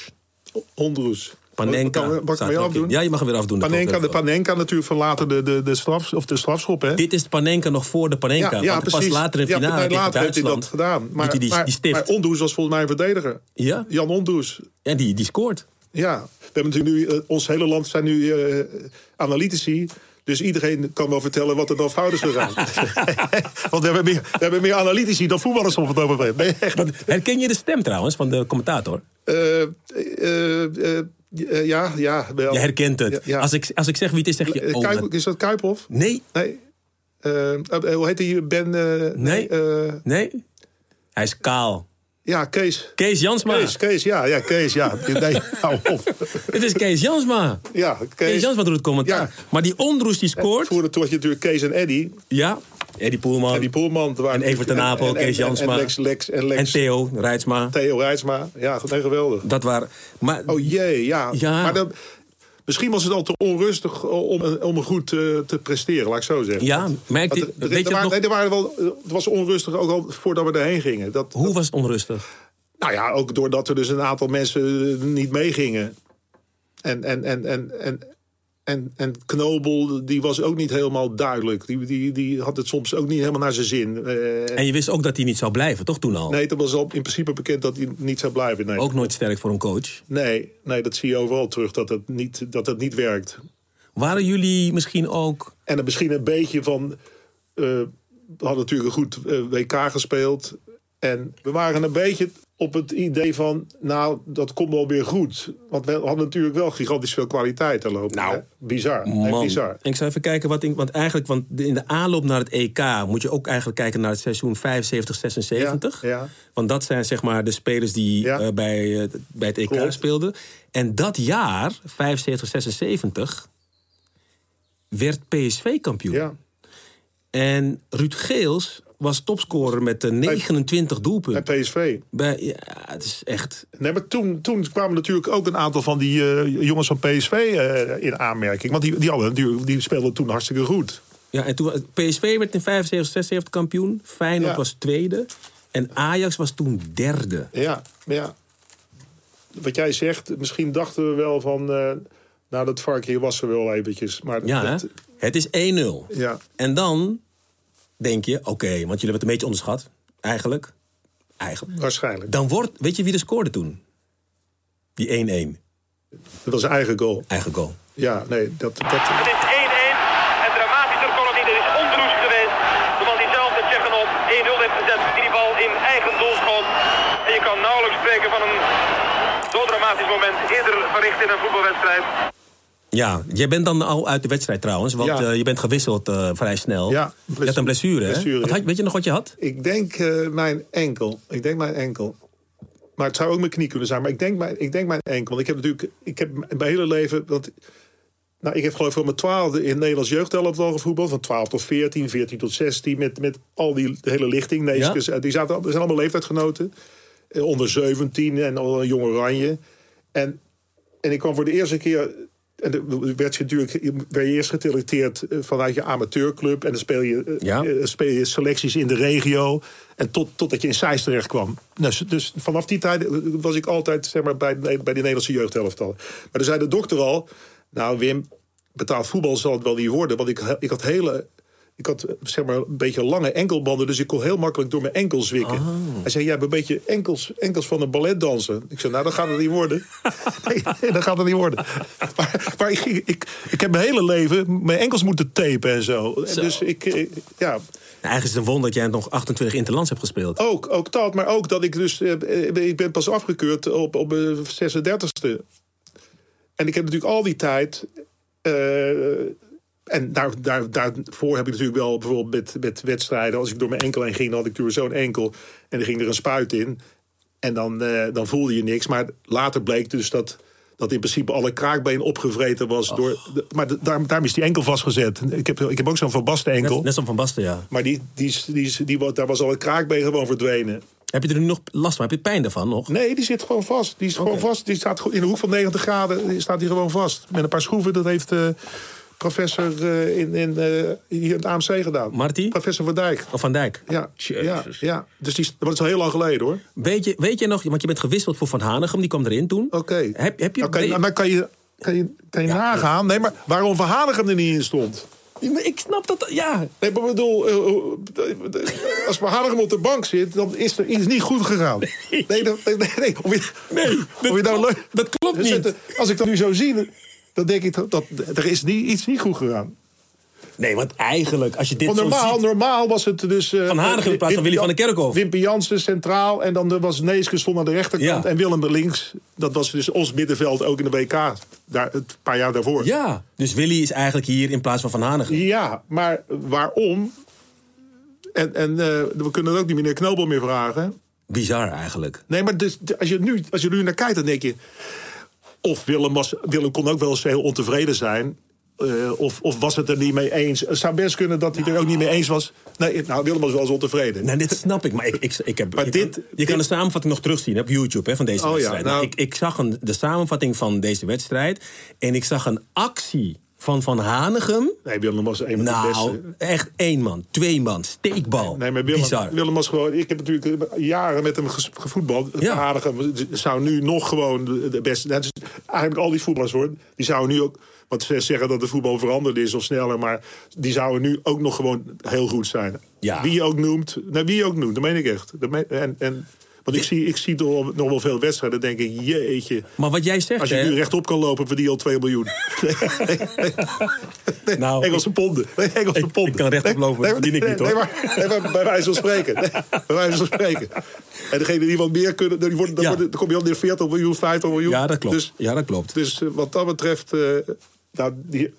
I: Ondroes.
H: Panenka.
I: Mag ik- Mag ik
H: staat
I: mij
H: nog in.
I: afdoen?
H: Ja, je mag hem weer afdoen. de
I: Panenka, de
H: klok.
I: Panenka natuurlijk van later de, de, de, straf, of de strafschop, hè?
H: Dit is de Panenka nog voor de Panenka.
I: Ja, ja
H: want
I: precies.
H: Pas later in de
I: Ja,
H: finale
I: nee,
H: tegen
I: later heeft hij
H: Duitsland
I: dat gedaan.
H: doet
I: Maar,
H: hij die,
I: maar,
H: die stift.
I: maar Ondoes was volgens mij een verdediger.
H: Ja.
I: Jan Ondoes.
H: ja, die, die scoort.
I: Ja. We hebben natuurlijk nu, eh, ons hele land zijn nu eh, analytici. Dus iedereen kan wel vertellen wat er dan fout is gegaan.
H: [laughs]
I: Want we hebben, meer, we hebben meer analytici dan voetballers op het ogenblik. Nee, echt.
H: Herken je de stem trouwens van de commentator?
I: Eh, eh, eh, eh, ja, ja. wel.
H: Je herkent het.
I: Ja, ja.
H: Als, ik, als ik zeg wie het is, zeg je...
I: Eh,
H: Oh,
I: Kuip-
H: dat-
I: is dat Kuiphoff?
H: nee,
I: Nee. Eh, eh, hoe heet die? Ben... eh,
H: Nee.
I: eh,
H: nee. Hij is kaal.
I: ja, Kees.
H: Kees Jansma.
I: Kees, Kees, ja, ja, Kees,
H: [laughs]
I: ja. Nee, hou op.
H: Het is Kees Jansma.
I: Ja,
H: Kees
I: Kees.
H: Jansma doet het commentaar.
I: Ja. Eh,
H: Maar die onroes die scoort...
I: Voerde toch natuurlijk Kees en Eddy.
H: Ja, Eddie Poelman.
I: En die Poelman.
H: Oh, En Evert ten Apel, Kees Jansma.
I: En Lex, Lex en Lex.
H: En Theo Rijtsma.
I: Theo Rijtsma. Ja, nee, geweldig.
H: Dat waren... Maar
I: Oh jee, ja.
H: Ja.
I: Maar dan, misschien was het al te onrustig eh, om, een- om een goed eh, te presteren, laat ik zo zeggen.
H: Ja,
I: Want-
H: maar ik-
I: want
H: weet
I: er-
H: je
I: er
H: het
I: waren-
H: nog-
I: nee, er waren wel, het was onrustig ook al voordat we daarheen gingen. Dat,
H: hoe was het onrustig?
I: nou ja, ook doordat er dus een aantal mensen eh, niet meegingen. En, en, en, en, en, en, en Knobel, die was ook niet helemaal duidelijk. Die, die, die had het soms ook niet helemaal naar zijn zin. Eh,
H: En je wist ook dat hij niet zou blijven, toch toen al?
I: nee, het was al in principe bekend dat hij niet zou blijven. Nee.
H: Ook nooit sterk voor een coach.
I: Nee, nee, dat zie je overal terug, dat het niet, dat het niet werkt.
H: Waren jullie misschien ook...
I: En dan misschien een beetje van. eh, we hadden natuurlijk een goed eh, WK gespeeld. En we waren een beetje op het idee van. Nou, dat komt wel weer goed. Want we hadden natuurlijk wel gigantisch veel kwaliteit aan lopen.
H: Nou,
I: hè? bizar. Nee,
H: Man,
I: bizar.
H: ik zou even kijken wat ik... Want eigenlijk, want de- in de aanloop naar het EK... moet je ook eigenlijk kijken naar het seizoen 75, 76.
I: Ja, ja.
H: Want dat zijn zeg maar de spelers die
I: Ja.
H: eh, bij, eh, bij het EK
I: Klopt.
H: speelden. En dat jaar, 75, 76... werd PSV kampioen.
I: Ja.
H: En Ruud Geels was topscorer met eh, 29
I: En
H: doelpunten.
I: PSV.
H: Bij, ja, het is echt...
I: Nee, maar toen, toen kwamen natuurlijk ook een aantal van die eh, jongens van PSV eh, in aanmerking. Want die, die, hadden, natuurlijk- die speelden toen hartstikke goed.
H: Ja, en toen, PSV werd in 75, 76 kampioen. Feyenoord
I: Ja.
H: was tweede. En Ajax was toen derde.
I: Ja, maar ja. Wat jij zegt, misschien dachten we wel van. eh, nou, dat vark hier was er wel eventjes. Maar
H: Ja,
I: dat-
H: hè? het is 1-0.
I: Ja.
H: En dan denk je, oké, want jullie hebben het een beetje onderschat. Eigenlijk. Eigenlijk.
I: waarschijnlijk.
H: Dan wordt, weet je wie er scoorde toen? Die 1-1.
I: Dat was een eigen goal.
H: Eigen goal.
I: Ja, nee, dat. dat
E: Het is 1-1. En dramatischer kon het niet. Er is ontroest geweest. De man die zelf de Tsjechen op 1-0 heeft gezet. Die die bal in eigen doel schoot. En je kan nauwelijks spreken van een zo dramatisch moment. Eerder verricht in een voetbalwedstrijd.
H: Ja, jij bent dan al uit de wedstrijd trouwens, want
I: Ja.
H: eh, je bent gewisseld eh, vrij snel.
I: Ja,
H: je had een blessure, hè?
I: blessure,
H: Wat
I: ja.
H: had- weet je nog wat je had? Nou,
I: ik denk eh, mijn enkel. Ik denk mijn enkel. Maar het zou ook mijn knie kunnen zijn. Maar ik denk mijn, ik denk mijn enkel. Want ik heb natuurlijk. Ik heb m- mijn hele leven. Want, nou, ik heb geloof ik van mijn twaalfde in het Nederlands jeugdelftal gevoetbald. Van 12 tot 14, 14 tot 16. Met, met al die de hele lichting. Nee,
H: Ja.
I: dus, eh, die zaten, al- dat zijn allemaal leeftijdgenoten. Eh, onder 17 en al een jong oranje. En, en ik kwam voor de eerste keer. En dan werd je natuurlijk werd je eerst getelecteerd eh, vanuit je amateurclub. En dan speel je, eh,
H: Ja.
I: eh, speel je selecties in de regio. En tot, totdat je in Zeist terecht kwam. Dus, dus vanaf die tijd eh, was ik altijd zeg maar, bij, bij de Nederlandse jeugdhelftal. Maar dan zei de dokter al... Nou Wim, betaald voetbal zal het wel niet worden. Want ik, he- ik had hele... Ik had eh, zeg maar, een beetje lange enkelbanden, dus ik kon heel makkelijk door mijn enkels wikken. Hij zei: Jij hebt een beetje enkels, enkels van een balletdanser. Ik zei: Nou, dat gaat het niet worden. nee, nee, dat gaat het niet worden. maar maar ik, ging- ik, ik heb mijn hele leven mijn enkels moeten tapen en zo. En
H: Zo.
I: Dus ik, eh, ja,
H: Nou, eigenlijk is het een wonder dat jij nog 28 interlands hebt gespeeld.
I: ook, ook dat, maar ook dat ik dus... eh, eh, ik ben pas afgekeurd op, op mijn 36e. En ik heb natuurlijk al die tijd... eh, en daar, daar, daarvoor heb ik natuurlijk wel bijvoorbeeld met, met wedstrijden... als ik door mijn enkel heen ging, dan had ik natuurlijk zo'n enkel... en dan ging er een spuit in. En dan, eh, dan voelde je niks. Maar later bleek dus dat, dat in principe alle kraakbeen opgevreten was. Door, de- maar de- daar, daarom is die enkel vastgezet. Ik heb, ik heb ook zo'n verbaste enkel.
H: Net, net zoals Van Basten, ja.
I: Maar die, die, is- die, is- die, wa- daar was al een kraakbeen gewoon verdwenen.
H: Heb je er nu nog last van? Heb je pijn daarvan nog?
I: Nee, die zit gewoon vast. Die is gewoon vast. Die staat gewoon- in de hoek van 90 graden die staat die gewoon vast. Met een paar schroeven. Dat heeft eh, professor eh, in, in, eh, hier in het AMC gedaan.
H: Marty?
I: Professor Van Dijk.
H: Of Van Dijk?
I: Ja, ja, ja. Dus die, is- dat is al heel lang geleden hoor.
H: Weet, je, weet je nog, want je bent gewisseld voor Van Hanegem, die kwam erin toen.
I: Oké.
H: Heb, heb je...
I: Nou, kan je,
H: weet-
I: maar kan je, kan je, kan je nagaan? Nee, maar waarom Van Hanegem er niet in stond?
H: Ik snap dat, ja.
I: Nee, maar ik bedoel, eh, eh, als Van Hanegem op de bank zit, dan is er iets niet goed gegaan. Nee, dat, nee, nee, nee. Of je,
H: Nee,
I: of je nou leuk.
H: dat klopt
I: Dus
H: niet.
I: dat- Als ik dat nu zo zie, dan denk ik dat, dat er is niet, iets niet goed gegaan.
H: Nee, want eigenlijk, als je dit
I: Want
H: zo
I: normaal,
H: ziet...
I: normaal was het dus... eh,
H: Van Hanegem in plaats van
I: Wim-
H: Willy van den Kerkhof.
I: Wimpy Jansen centraal en dan was Neeskens stond aan de rechterkant.
H: Ja.
I: En Willem links. Dat was dus ons middenveld ook in de WK. Daar, het paar jaar daarvoor.
H: Ja, dus Willy is eigenlijk hier in plaats van Van Hanegem.
I: Ja, maar waarom? En, en eh, we kunnen het ook niet meneer Knobel meer vragen.
H: Bizar eigenlijk.
I: Nee, maar dus, als, je nu, als je nu naar kijkt, dan denk je... Of Willem, was, Willem kon ook wel eens heel ontevreden zijn... eh, of, of was het er niet mee eens? Het zou best kunnen dat hij er ook niet mee eens was. Nee, nou, Willem was wel eens ontevreden.
H: Nou, dit snap ik, maar ik, ik, ik heb...
I: Maar
H: je
I: dit-
H: kan, je
I: dit-
H: kan de samenvatting nog terugzien op YouTube hè, van deze
I: Oh ja,
H: wedstrijd. Nou,
I: nou-
H: ik, ik zag een, de samenvatting van deze wedstrijd... en ik zag een actie van Van Hanegem...
I: Nee, Willem was een van de beste.
H: Nou, echt één man, twee man, steekbal.
I: Nee, maar Willem,
H: Bizar.
I: Willem was gewoon... Ik heb natuurlijk eh, jaren met hem ges- gevoetbald.
H: Ja.
I: Ja. zou nu nog gewoon de- de beste... Dat is eigenlijk al die voetballers, hoor. Die zouden nu ook... Want ze zeggen dat de voetbal veranderd is of sneller... maar die zouden nu ook nog gewoon heel goed zijn.
H: Ja.
I: Wie je ook noemt. Nou, wie je ook noemt, dat meen ik echt. Dat meen- en, en, want ik zie, ik zie toch nog wel veel wedstrijden. denk ik, jeetje.
H: Maar wat jij zegt,
I: Als je
H: hè,
I: nu rechtop kan lopen, verdien je al 2 miljoen. Nee, nee, nee.
H: Nou,
I: Engelse ponden. Nee, Engelse
H: ik-
I: ponden.
H: ik kan rechtop lopen, dat verdien ik niet, hoor.
I: Nee, maar, nee, maar bij wijze van spreken. Nee, bij wijze van spreken. En degene die wat meer kunnen, die worden, dan,
H: Ja.
I: worden- dan kom je al neer 40 miljoen, 50 miljoen.
H: Ja, dat klopt.
I: Dus,
H: ja, dat klopt.
I: dus eh, wat dat betreft... eh, nou, die,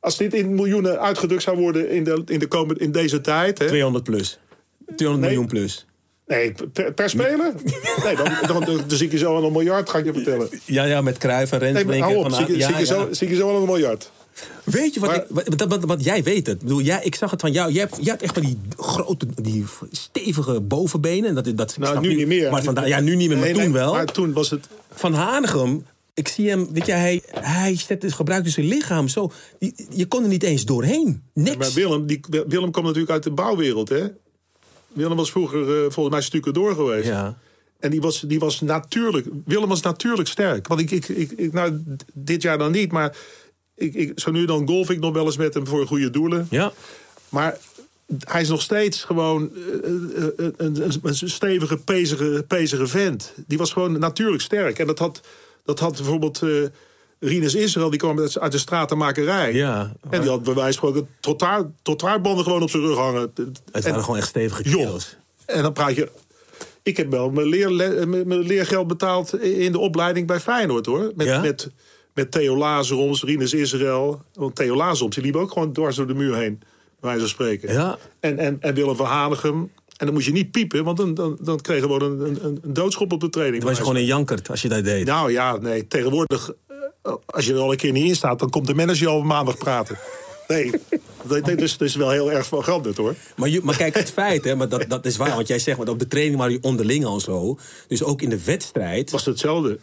I: als dit in miljoenen uitgedrukt zou worden in, de, in, de komende, in deze tijd... Hè,
H: 200 plus. 200 miljoen plus.
I: nee, per, per speler? Nee, dan, dan, dan, dan zie ik je zo aan een miljard, ga ik je vertellen.
H: Ja, ja, met Cruijff en Rens.
I: Nee, maar
H: Brink en
I: hou op,
H: Van
I: zie ik je-
H: Haan-
I: zie ik je
H: ja,
I: zo-
H: ja.
I: zie ik je zo aan een miljard.
H: Weet je wat,
I: Maar-
H: ik- wat, wat, wat- wat jij weet het. Ik bedoel, jij, ik zag het van jou. Jij hebt, jij hebt echt van die grote, die stevige bovenbenen. Dat, dat, ik
I: Nou,
H: snap
I: nu niet meer.
H: Maar vandaar- ja, nu niet meer, maar
I: Nee,
H: toen
I: nee,
H: wel.
I: Maar toen was het...
H: Van Hanegem, ik zie hem, weet je, hij, hij zet, gebruikt dus zijn lichaam zo. Je, je kon er niet eens doorheen.
I: Maar
H: Niks.
I: Willem, die, Willem kwam natuurlijk uit de bouwwereld, hè? Willem was vroeger eh, volgens mij stukken door geweest.
H: Ja.
I: En die was, die was natuurlijk... Willem was natuurlijk sterk. Want ik, ik, ik, ik- nou, d- dit jaar dan niet, maar... Ik, ik, zo nu en dan golf ik nog wel eens met hem voor goede doelen.
H: ja.
I: Maar hij is nog steeds gewoon eh, eh, eh, een, een- een stevige, pezige, pezige vent. Die was gewoon natuurlijk sterk. En dat had, dat had bijvoorbeeld eh Rinus Israël, die kwam uit- uit de stratenmakerij.
H: Ja.
I: En die had bij wijze van spreken trottoir- trottoirbanden gewoon op zijn rug hangen.
H: Het
I: En-
H: waren gewoon echt stevige
I: Joh.
H: kerels.
I: en dan praat je. Ik heb wel mijn, leerle- mijn mijn leergeld betaald in de opleiding bij Feyenoord hoor. Met,
H: Ja?
I: met, met Theo Lazaroms, Rinus Israël. Want Theo Lazaroms die liep ook gewoon dwars door de muur heen, bij wijze van spreken.
H: Ja.
I: En, en, en Willem van Hanegem. En dan moest je niet piepen, want dan, dan, dan kreeg je gewoon een, een- een, een doodschop op de training.
H: Dan was je gewoon
I: bij wijze
H: een jankert als je dat deed.
I: van- Nou ja, nee, tegenwoordig. eh, Als je er al een keer niet in staat, dan komt de manager al op maandag praten. Nee, [laughs] dat, dat is, dat is wel heel erg van veranderd hoor.
H: Maar, je- maar kijk, het feit, hè, maar dat, dat is waar. Want jij zegt, want op de training waren die onderling al zo. Dus ook in de wedstrijd,
I: Was hetzelfde.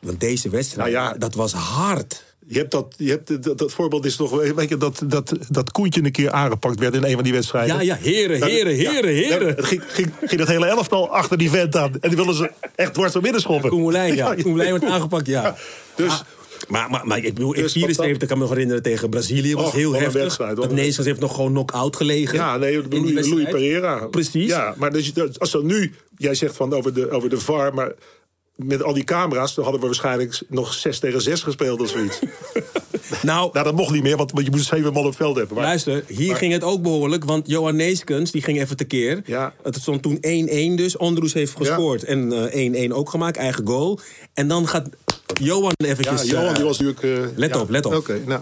H: want deze wedstrijd,
I: Nou ja.
H: dat was hard.
I: Je hebt dat, je hebt, dat, dat voorbeeld is toch weet je, dat, dat, dat Koentje een keer aangepakt werd in een van die wedstrijden. Nou,
H: Ja, ja, heren, heren, heren,
I: Ja,
H: heren.
I: het ging, ging, ging dat hele elftal achter die vent aan. En die wilden ze echt dwars naar binnen schoppen.
H: Koen Moulijn,
I: [laughs]
H: ja. Koen Moulijn werd aangepakt, ja.
I: dus
H: Ah, maar, maar, maar ik bedoel, in
I: Dus wat
H: 74 kan me nog herinneren tegen Brazilië. was
I: Och,
H: heel
I: wat een
H: heftig.
I: wedstrijd, wat
H: dat
I: een
H: Neeskens heeft nog gewoon knock-out gelegen.
I: ja, nee,
H: in die
I: Louis, Louis
H: wedstrijd.
I: Pereira.
H: Precies.
I: Ja, maar dus, dat- als dan nu, jij zegt van over de, over de VAR, maar met al die camera's, dan hadden we waarschijnlijk nog 6 tegen 6 gespeeld of
H: [laughs]
I: zoiets.
H: Nou,
I: nou, dat mocht niet meer, want, want je moest zeven man op het veld hebben. Maar,
H: Luister, hier ging het ook behoorlijk, want Johan Neeskens die ging even tekeer.
I: Ja.
H: Het stond toen 1-1 dus, Andrews heeft gescoord en eh, 1-1 ook gemaakt, eigen goal. En dan gaat Johan
I: ja,
H: eventjes...
I: Johan
H: eh,
I: die was natuurlijk... eh,
H: let
I: ja.
H: op, let op.
I: Oké, nou.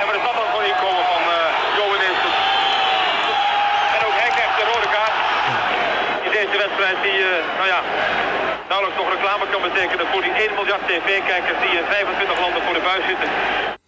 E: En wat is dat dan voor inkomen van eh Johan Neeskens? En ook hij krijgt de rode kaart. In deze wedstrijd die, eh, nou ja, nauwelijks nog reclame kan betekenen voor die 1 miljard tv-kijkers die in 25 landen voor de buis zitten.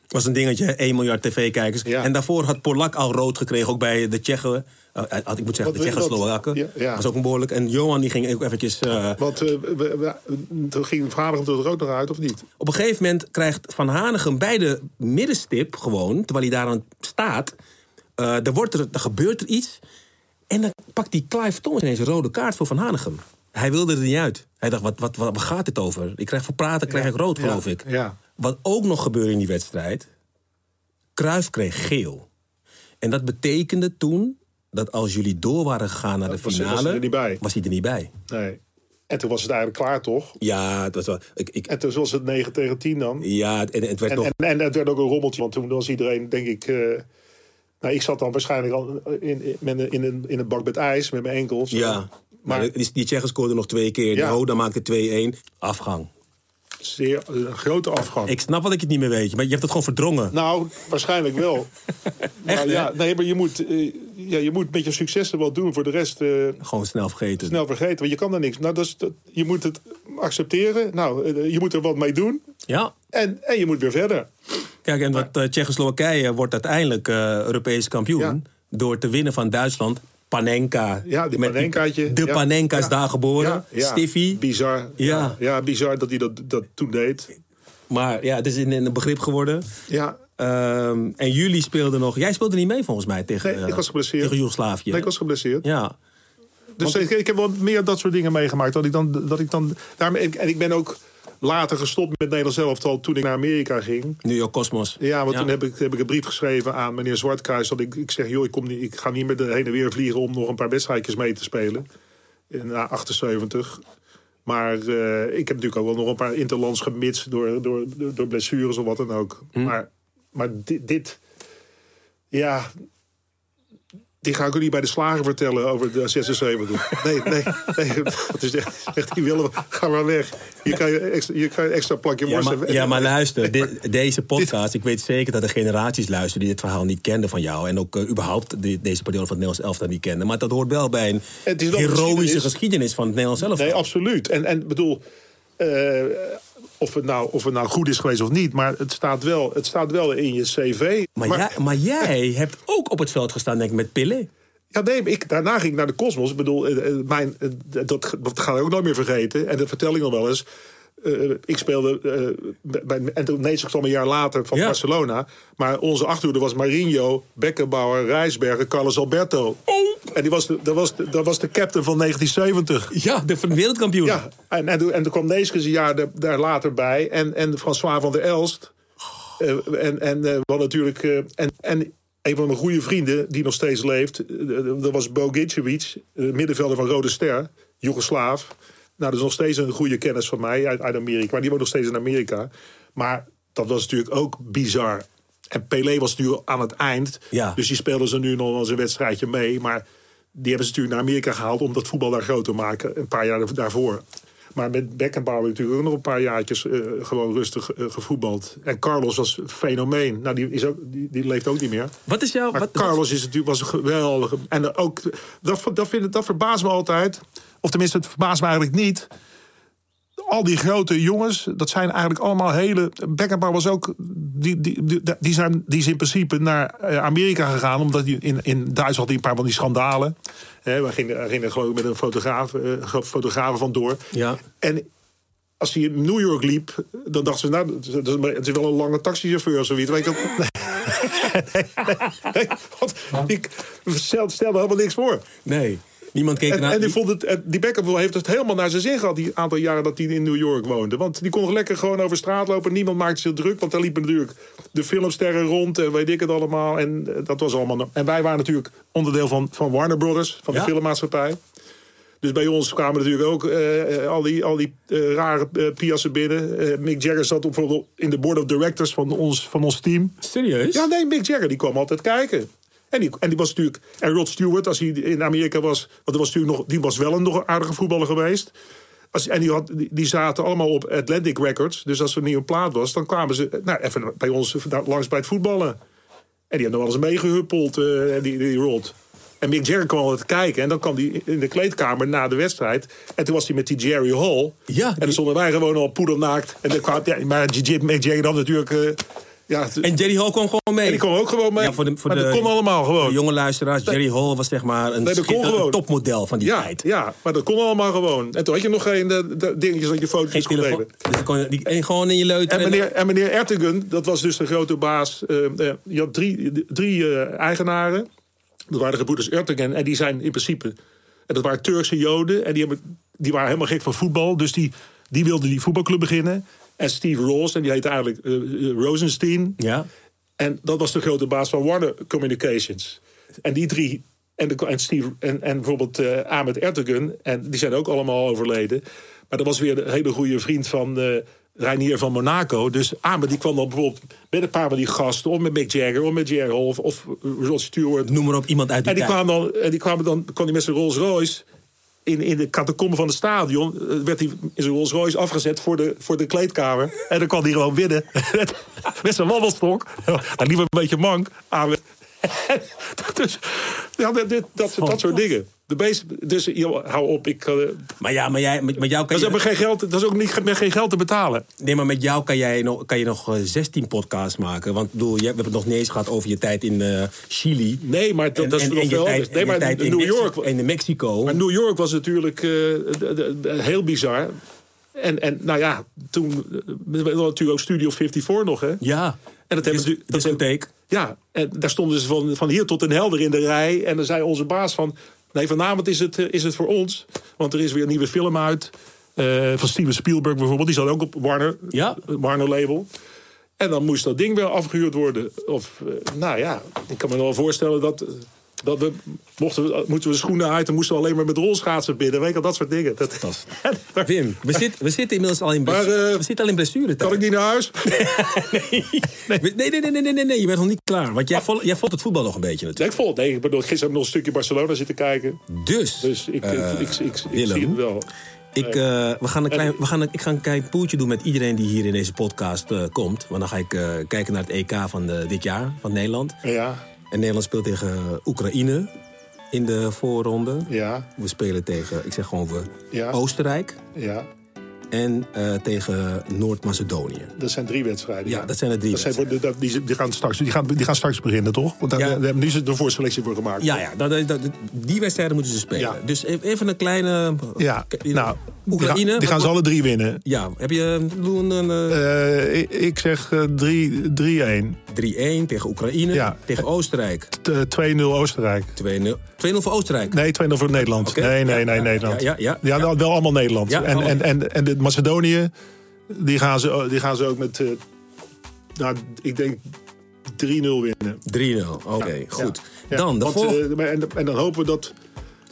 H: was een dingetje, hè, 1 miljard tv-kijkers.
I: Ja.
H: En daarvoor had Polak al rood gekregen, ook bij de Tsjechen. Eh, had, ik moet zeggen,
I: Wat
H: de
I: wil je
H: Tsjechen
I: dat?
H: Slowaken.
I: Ja, ja.
H: was ook een behoorlijk. En Johan die ging ook eventjes... eh,
I: Want eh, we- we- we- toen ging vader er ook nog uit, of niet?
H: Op een gegeven moment krijgt Van Hanegem bij de middenstip gewoon, terwijl hij daar aan staat, eh er, wordt er, er gebeurt er iets. En dan pakt die Clive Thomas ineens een rode kaart voor Van Hanegem. Hij wilde er niet uit. Hij dacht, wat, wat, wat, waar gaat dit over? Ik krijg voor praten, krijg ik rood,
I: ja,
H: geloof ik.
I: ja.
H: Wat ook nog gebeurde in die wedstrijd, Cruijff kreeg geel. En dat betekende toen dat als jullie door waren gegaan naar de
I: was- was
H: finale...
I: hij er niet bij.
H: was hij er niet bij.
I: Nee. En toen was het eigenlijk klaar, toch?
H: Ja, het was wel. Ik, ik,
I: En toen was het 9 tegen 10 dan.
H: ja, en, en het werd
I: En,
H: nog.
I: en, en het werd ook een rommeltje, want toen was iedereen, denk ik... eh, nou, ik zat dan waarschijnlijk al in, in, met een- in, een, in een bak met ijs met mijn enkels.
H: ja, maar,
I: maar-
H: die, die Tsjechen scoorde nog twee keer.
I: Ja.
H: De Roda maakte 2-1. Afgang.
I: Zeer, eh, een grote afgang.
H: Ik snap wat ik het niet meer weet, maar je hebt het gewoon verdrongen.
I: Nou, waarschijnlijk wel. Maar
H: [laughs] Echt, hè?
I: ja, nee, maar je moet, eh, ja, je moet met je successen wel doen. Voor de rest eh,
H: Gewoon snel vergeten.
I: snel vergeten, want je kan er niks. Nou, dat is, dat- je moet het accepteren. Nou, eh, je moet er wat mee doen.
H: Ja.
I: En, en je moet weer verder.
H: Kijk, en wat eh, Tsjechoslowakije wordt uiteindelijk eh, Europees kampioen.
I: Ja.
H: Door te winnen van Duitsland. Panenka.
I: Ja, die
H: Met
I: Panenkaatje.
H: De
I: ja.
H: Panenka is
I: Ja.
H: daar geboren.
I: Ja, ja.
H: Stiffy.
I: Bizar.
H: Ja.
I: Ja. ja, bizar dat hij dat, dat toen deed.
H: Maar ja, het is in, in een begrip geworden.
I: Ja,
H: Ehm, en jullie speelden nog... Jij speelde niet mee volgens mij tegen,
I: Nee, ik
H: eh,
I: was geblesseerd.
H: tegen Joegoslavië.
I: nee, ik was geblesseerd.
H: Ja.
I: Dus ik, ik heb wel meer dat soort dingen meegemaakt. Dat ik dan, dat ik dan, daarom, en, ik- en ik ben ook later gestopt met Nederland zelf al toen ik naar Amerika ging.
H: New York Cosmos.
I: Ja, want toen heb ik, heb ik een brief geschreven aan meneer Zwartkruis. Dat ik, ik zeg, joh, ik, kom niet, ik ga niet meer de heen en weer vliegen om nog een paar wedstrijdjes mee te spelen. In, na 78. Maar eh, ik heb natuurlijk ook wel nog een paar interlands gemist door, door, door, door blessures of wat dan ook.
H: Hm.
I: Maar, maar dit, dit, ja, die ga ik ook niet bij de slager vertellen over de 76. Nee, nee, nee. [laughs] Dat is echt, echt die willen, we- ga maar weg. Je kan je extra, je kan je extra plakje
H: Ja
I: worst
H: maar,
I: hebben.
H: ja,
I: [laughs]
H: maar luister, dit- deze podcast, ik weet zeker dat er generaties luisteren die dit verhaal niet kenden van jou. En ook eh, überhaupt de- deze periode van het Nederlands elftal niet kenden. Maar dat hoort wel bij een
I: Het is wel
H: heroïsche geschiedenis.
I: geschiedenis.
H: van het Nederlands elftal.
I: Nee, oh, absoluut. En, en bedoel, eh, of, het nou, of het nou goed is geweest of niet, maar het staat wel, het staat wel in je cv.
H: maar, jij, maar
I: [laughs]
H: jij hebt ook op het veld gestaan, denk ik, met Pille.
I: ja, nee, ik, daarna ging ik naar de Cosmos. Ik bedoel, eh, eh, mijn, eh, dat, dat ga ik ook nooit meer vergeten. En dat vertel ik nog wel eens. Eh, ik speelde eh, bij- bij, en toen Nees kwam een jaar later van
H: Ja.
I: Barcelona. Maar onze achterhoede was Marinho, Beckenbauer, Rijsbergen, Carlos Alberto.
H: Oh.
I: En die was de, dat, was de, dat was de captain van 1970.
H: Ja, de wereldkampioen.
I: Ja, en, en, toen- en toen kwam Neeskens een jaar da- daar later bij. En, en François van der Elst. Eh, en en eh, wat natuurlijk. eh, en, en een van mijn goede vrienden, die nog steeds leeft. eh, dat was Bo Gincevic, eh, middenvelder van Rode Ster, Joegoslaaf. Nou, dat is nog steeds een goede kennis van mij uit, uit Amerika. Maar die woont nog steeds in Amerika. Maar dat was natuurlijk ook bizar. En Pelé was nu aan het eind.
H: Ja.
I: Dus die speelden ze nu nog wel eens een wedstrijdje mee. Maar die hebben ze natuurlijk naar Amerika gehaald om dat voetbal daar groot te maken. Een paar jaar daarvoor. Maar met Beckenbauer natuurlijk ook nog een paar jaartjes eh, gewoon rustig eh, gevoetbald. En Carlos was een fenomeen. Nou, die, is ook, die, die leeft ook niet meer.
H: Wat is jouw...
I: Maar
H: Wat, wat-
I: Carlos is natuurlijk, was een geweldige. En ook, dat, dat, vind, ik- dat verbaast me altijd. Of tenminste, het verbaast me eigenlijk niet. Al die grote jongens, dat zijn eigenlijk allemaal hele. Beckenbauer was ook. Die, die, die, die zijn, die is in principe naar eh, Amerika gegaan. Omdat hij in, in Duitsland had hij een paar van die schandalen. Hè, we gingen, we gingen gewoon met een fotograaf, eh, gro- fotograaf vandoor.
H: Ja.
I: En als hij in New York liep, dan dachten ze, nou, dat is- dat is wel een lange taxichauffeur of zoiets. Weet ik ook. [laughs] Nee, want ik stel- stelde helemaal niks voor.
H: Nee, niemand keek
I: En,
H: ernaar.
I: en die, vond het, en die Beckham heeft het helemaal naar zijn zin gehad... die aantal jaren dat hij in New York woonde. Want die kon lekker gewoon over straat lopen. Niemand maakte zich druk, want daar liepen natuurlijk de filmsterren rond... en weet ik het allemaal. En eh, dat was allemaal... no- En wij waren natuurlijk onderdeel van, van Warner Brothers, van de
H: Ja.
I: filmmaatschappij. Dus bij ons kwamen natuurlijk ook eh, eh, al die, al die eh, rare eh, piassen binnen. Eh, Mick Jagger zat op, bijvoorbeeld in de board of directors van ons, van ons team.
H: Serieus?
I: Ja, nee, Mick Jagger die kwam altijd kijken. En die, en die was natuurlijk. En Rod Stewart, als hij in Amerika was. Want er was natuurlijk nog, die was wel een nog aardige voetballer geweest. Als, en die, had, die, die zaten allemaal op Atlantic Records. Dus als er niet een plaat was, dan kwamen ze. Nou, even bij ons daar langs bij het voetballen. En die hadden wel eens meegehuppeld, eh, en die, die Rod. En Mick Jagger kwam altijd kijken. En dan kwam hij in de kleedkamer na de wedstrijd. En toen was hij met die Jerry Hall.
H: Ja,
I: en
H: die-
I: dan stonden wij gewoon al poedelnaakt. En dan kwam, ja, maar J- Mick Jagger had natuurlijk. eh, ja,
H: En Jerry Hall kwam gewoon mee.
I: en die kwam ook gewoon mee.
H: Ja, voor de, voor
I: maar
H: de,
I: dat kon allemaal
H: voor
I: gewoon.
H: de jonge luisteraars, Jerry Hall was zeg maar een,
I: Nee, dat kon
H: schitter- een
I: gewoon.
H: topmodel van die
I: ja,
H: tijd.
I: ja, maar dat kon allemaal gewoon. En toen had je nog geen eh, d- dingetjes dat je
H: Geen
I: foto's kon
H: telefoon.
I: nemen.
H: Dus je kon- die- en gewoon in je leuter.
I: En meneer, en meneer Ertegun, dat was dus de grote baas. eh, eh, je had drie, drie eh, eigenaren. Dat waren de gebroeders Ertegun. En die zijn in principe... En dat waren Turkse joden. En die, hebben, die waren helemaal gek van voetbal. Dus die, die wilden die voetbalclub beginnen. En Steve Ross, en die heette eigenlijk eh, eh, Rosenstein.
H: Ja.
I: En dat was de grote baas van Warner Communications. En die drie En, de, en, Steve, en, en bijvoorbeeld eh, Ahmed Erdogan. En die zijn ook allemaal overleden. Maar dat was weer een hele goede vriend van eh Reinier van Monaco. Dus Ahmed die kwam dan bijvoorbeeld met een paar van die gasten. Of met Mick Jagger, of met Jerry Hall, of, of Rod Stewart.
H: Noem maar op iemand uit die,
I: En die
H: tijd.
I: kwamen dan, en die kwamen dan kwam die met zijn Rolls Royce in, in de catacombe van het stadion. eh, werd hij in zijn Rolls Royce afgezet voor de, voor de kleedkamer. En dan kwam hij gewoon binnen [laughs] met zijn wandelstok. Nou, liever een beetje mank aan. [laughs] met- dus, ja, dit, dit- dat, dat soort dingen. De beest, dus joh, hou op. Ik, eh,
H: Maar ja, maar jij, met, met jou kan
I: dat, is
H: je...
I: ook geen geld, dat is ook niet, met geen geld te betalen.
H: Nee, maar met jou kan, jij nog, kan je nog eh, 16 podcasts maken. Want bedoel, je, we hebben het nog niet eens gehad over je tijd in eh, Chili.
I: Nee, maar dat,
H: En-
I: dat is
H: en-
I: nog
H: en je
I: wel
H: tijd-
I: anders.
H: en
I: Nee,
H: je
I: maar
H: tijd in
I: New
H: Mexi-
I: York.
H: En in Mexico.
I: Maar New York was natuurlijk eh, d- d- d- heel bizar. En, en nou ja, toen eh, we hadden natuurlijk ook Studio 54 nog, hè?
H: ja. Dus
I: En dat hebben ze- dat
H: discotheek.
I: Ja, en daar stonden ze van, van hier tot den helder in de rij. En dan zei onze baas van... Nee, vanavond is het, eh, is het voor ons. Want er is weer een nieuwe film uit. eh, van Steven Spielberg bijvoorbeeld. Die zat ook op Warner,
H: Ja.
I: Warner label. En dan moest dat ding wel afgehuurd worden. Of, eh, nou ja, ik kan me wel voorstellen dat... eh, Dat we, mochten we, moeten we de schoenen uit en moesten we alleen maar met rolschaatsen binnen. Weet je wel, dat soort dingen. Dat,
H: Wim, we, zit, we zitten inmiddels al in,
I: Maar,
H: blessu-
I: eh,
H: we zitten al in blessure.
I: [laughs] kan ik niet naar huis? [laughs]
H: Nee. Nee, nee, nee, nee, nee, nee, nee, je bent nog niet klaar. Want jij, vol, jij volgt het voetbal nog een beetje natuurlijk.
I: Nee, ik vond het. Nee, ik bedoel, gisteren heb ik nog een stukje Barcelona zitten kijken.
H: Dus,
I: Dus ik,
H: eh,
I: ik, ik, ik, ik
H: Willem,
I: zie het wel.
H: Ik, eh, we gaan een klein, we gaan een- ik ga een klein poeltje doen met iedereen die hier in deze podcast eh, komt. Want dan ga ik eh, kijken naar het EK van eh, dit jaar, van Nederland.
I: Ja,
H: En Nederland speelt tegen Oekraïne in de voorronde.
I: ja,
H: We spelen tegen, ik zeg gewoon we,
I: Ja.
H: Oostenrijk.
I: ja.
H: En eh, tegen Noord-Macedonië.
I: Dat zijn drie wedstrijden.
H: Ja, dat zijn er drie
I: Dat zijn voor de- dat- die, die, gaan straks, die, gaan, die gaan straks beginnen, toch? Want daar,
H: Ja.
I: daar hebben nu de voorselectie voor gemaakt.
H: Ja, ja dat, dat- dat- die wedstrijden moeten ze spelen.
I: Ja.
H: Dus e- even een kleine...
F: Ja,
H: K-
F: nou, die,
H: Oekraïne.
F: gaan- die gaan ze alle drie winnen.
H: Ja, heb je eh, doe een, een, eh,
F: Eh, ik, ik zeg eh, drie- 3-1.
H: 3-1 tegen Oekraïne,
F: ja.
H: tegen Oostenrijk.
F: T- eh, 2-0 Oostenrijk.
H: 2-0 2-0 voor Oostenrijk.
F: Nee, 2-0 voor Nederland.
H: Oké.
F: Nee, nee,
H: Ja,
F: nee,
H: ja,
F: Nederland.
H: ja, ja, ja.
F: nou, wel allemaal Nederland.
H: Ja,
F: en, en,
H: allemaal.
F: en, en de Macedonië,
I: Die, gaan ze, die gaan ze ook met, eh, nou, ik denk 3-0 winnen.
H: 3-0, oké, goed.
I: Ja.
H: Dan, de
I: Want,
H: volg-
I: eh, maar- en, en dan hopen we dat,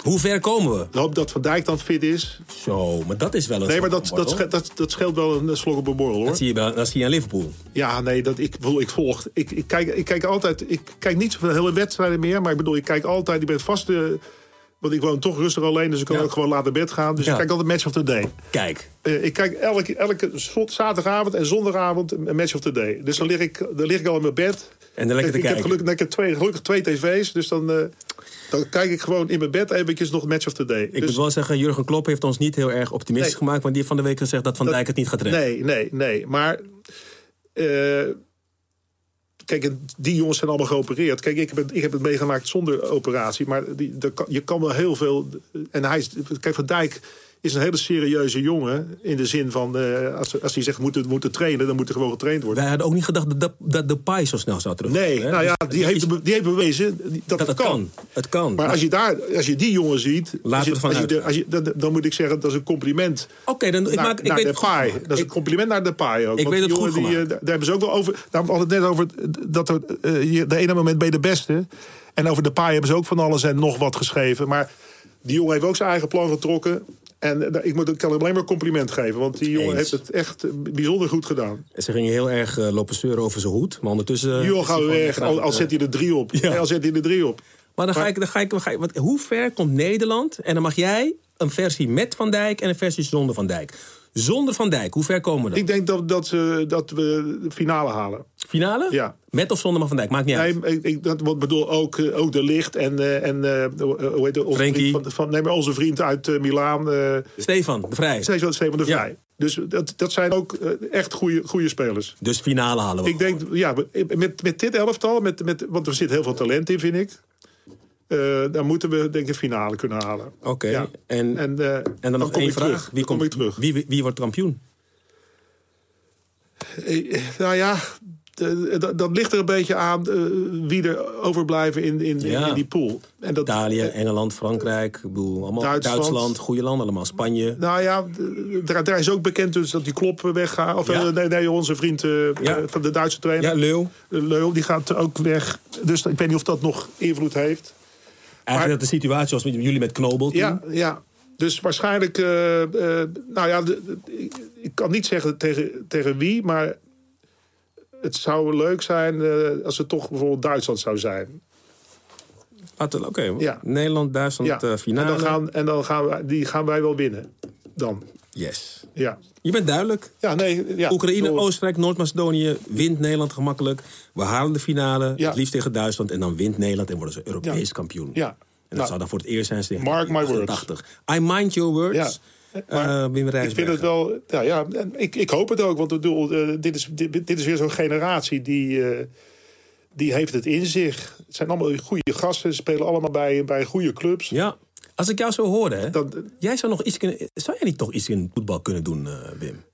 H: hoe ver komen we?
I: hoop dat Van Dijk dan fit is.
H: Zo, maar dat is wel een...
I: Nee, maar dat, dat,
H: soort-
I: sche- dat, dat scheelt wel een eh, slok op een borrel, hoor.
H: Dat zie je, bij- dat zie je aan Liverpool.
I: Ja, nee, dat, ik, bedoel, ik volg. Ik, ik, kijk, ik kijk altijd. Ik kijk niet zoveel hele wedstrijden meer. Maar ik bedoel, ik kijk altijd. Ik ben vast. eh, want ik woon toch rustig alleen. Dus ik kan
H: Ja.
I: ook gewoon laat naar bed gaan. Dus
H: Ja.
I: ik kijk altijd Match of the Day.
H: Kijk,
I: Eh, ik kijk elke, elke zot- zaterdagavond en zondagavond een Match of the Day. Dus dan lig ik, dan lig ik al in mijn bed.
H: En dan lekker
I: ik,
H: te
I: ik heb
H: kijken.
I: gelukkig, ik heb twee, gelukkig twee tv's. Dus dan, eh, dan kijk ik gewoon in mijn bed eventjes nog Match of the Day.
H: ik
I: dus,
H: moet wel zeggen, Jurgen Klopp heeft ons niet heel erg optimistisch
I: Nee.
H: gemaakt... want die heeft van de week gezegd dat Van
I: Dat-
H: Dijk het niet gaat redden.
I: Nee, nee, nee. Maar. eh, kijk, en die jongens zijn allemaal geopereerd. Kijk, ik heb het, ik heb het meegemaakt zonder operatie. Maar die, dat kan- je kan wel heel veel. En hij is. Kijk, Van Dijk is een hele serieuze jongen. In de zin van. eh, als, als hij zegt moeten, moeten trainen, dan moet er gewoon getraind worden.
H: Wij hadden ook niet gedacht dat, dat, dat Depay zo snel zou terugkomen.
I: Nee,
H: hè?
I: nou ja,
H: Dus
I: die
H: het
I: heeft,
H: is-
I: be- die heeft bewezen dat,
H: dat het kan. Het kan.
I: Maar als je, daar, als je die jongen ziet, als je,
H: we ervan
I: als je de-
H: uitgaan.
I: als je, dan, dan moet ik zeggen, dat is een compliment
H: Oké, dan ik
I: naar,
H: maak ik
I: naar
H: weet
I: Depay. nou, Dat is een
H: ik,
I: compliment naar Depay ook.
H: Ik weet
I: die
H: het goed
I: jongen die,
H: gemaakt.
I: eh, daar hebben ze ook wel over. Daar hadden we het net over eh, dat er, eh, je- de ene moment ben je de beste. En over Depay hebben ze ook van alles en nog wat geschreven. Maar die jongen heeft ook zijn eigen plan getrokken. En eh, ik, moet, ik kan hem alleen maar compliment geven. Want die jongen
H: Eens.
I: heeft het echt eh, bijzonder goed gedaan.
H: ze gingen heel erg eh, lopen zeuren over zijn hoed, maar ondertussen.
I: Die
H: Eh, is
I: jongen
H: hij
I: gaat
H: gewoon
I: weg,
H: echt
I: al,
H: aan-
I: al zet hij er drie op.
H: Ja.
I: Al zet hij er drie op.
H: Maar dan ga ik, dan ga ik, dan ga ik want hoe ver komt Nederland? En dan mag jij een versie met Van Dijk en een versie zonder Van Dijk. Zonder Van Dijk, hoe ver komen we dan?
I: Ik denk dat, dat, ze, dat we de finale halen.
H: Finale?
I: Ja.
H: Met of zonder Van Dijk, maakt niet uit.
I: Nee, ik, ik dat, wat bedoel ook, eh, ook de licht en, eh, en eh, hoe heet het, onze
H: Frenkie.
I: vriend, van, van, nee, maar onze vriend uit eh, Milaan, eh
H: Stefan, de Vrij.
I: Stefan Stefan de
H: Ja.
I: Vrij. Dus dat, dat zijn ook eh, echt goede spelers.
H: Dus finale halen we.
I: Ik denk, ja, met, met dit elftal, met, met, want er zit heel veel talent in, vind ik. eh, dan moeten we denk ik een finale kunnen halen.
H: Oké,
I: Ja.
H: en-
I: en, eh,
H: en dan nog
I: kom
H: één
I: ik
H: vraag.
I: terug.
H: Wie,
I: Dan kom
H: komt-
I: ik terug?
H: Wie, wie, wie wordt kampioen?
I: Eh, Nou ja, de- dat- dat ligt er een beetje aan eh, wie er overblijven in, in, in-
H: Ja.
I: in die pool. En dat, eh,
H: Italië, Engeland, Frankrijk, ik bedoel, allemaal Duitsland.
I: Duitsland.
H: goede landen allemaal. Spanje.
I: Nou ja, d- daar, daar is ook bekend dus dat die klop weggaat. Of
H: Ja.
I: eh, nee, nee, onze vriend eh,
H: Ja.
I: eh, van de Duitse trainer.
H: Ja, Leeuw.
I: Leul, die gaat ook weg. Dus ik weet niet of dat nog invloed heeft. Maar-
H: Eigenlijk dat de situatie was met jullie met Knobel toen.
I: Ja, ja. Dus waarschijnlijk, eh, eh, nou ja, de- de- ik, ik kan niet zeggen tegen, tegen wie, maar het zou leuk zijn eh, als het toch bijvoorbeeld Duitsland zou zijn.
H: Had het- Oké,
I: Ja.
H: Nederland, Duitsland,
I: Ja.
H: eh,
I: en
H: finale.
I: dan, gaan, en dan gaan, wij, die gaan wij wel binnen. Dan,
H: Yes.
I: ja.
H: Je bent duidelijk.
I: Ja, nee, ja.
H: Oekraïne,
I: Door-
H: Oostenrijk, Noord-Macedonië wint Nederland gemakkelijk. We halen de finale,
I: Ja.
H: het liefst tegen Duitsland. En dan wint Nederland en worden ze Europees kampioen.
I: Ja.
H: En dat
I: Nou,
H: zou dan voor het eerst zijn sinds
I: mark my
H: 1988. I mind your words.
I: Ja.
H: Eh,
I: Maar
H: Wim
I: ik vind
H: Rijsbergen.
I: het wel, ja, ja en ik, ik hoop het ook, want ik bedoel, eh, dit, is, dit, dit is weer zo'n generatie die, eh, die heeft het in zich. Het zijn allemaal goede gasten, ze spelen allemaal bij, bij goede clubs.
H: Ja. Als ik jou zo hoor, hè,
I: Dan-
H: jij zou nog iets kunnen. Zou jij niet toch iets in voetbal kunnen doen, eh, Wim?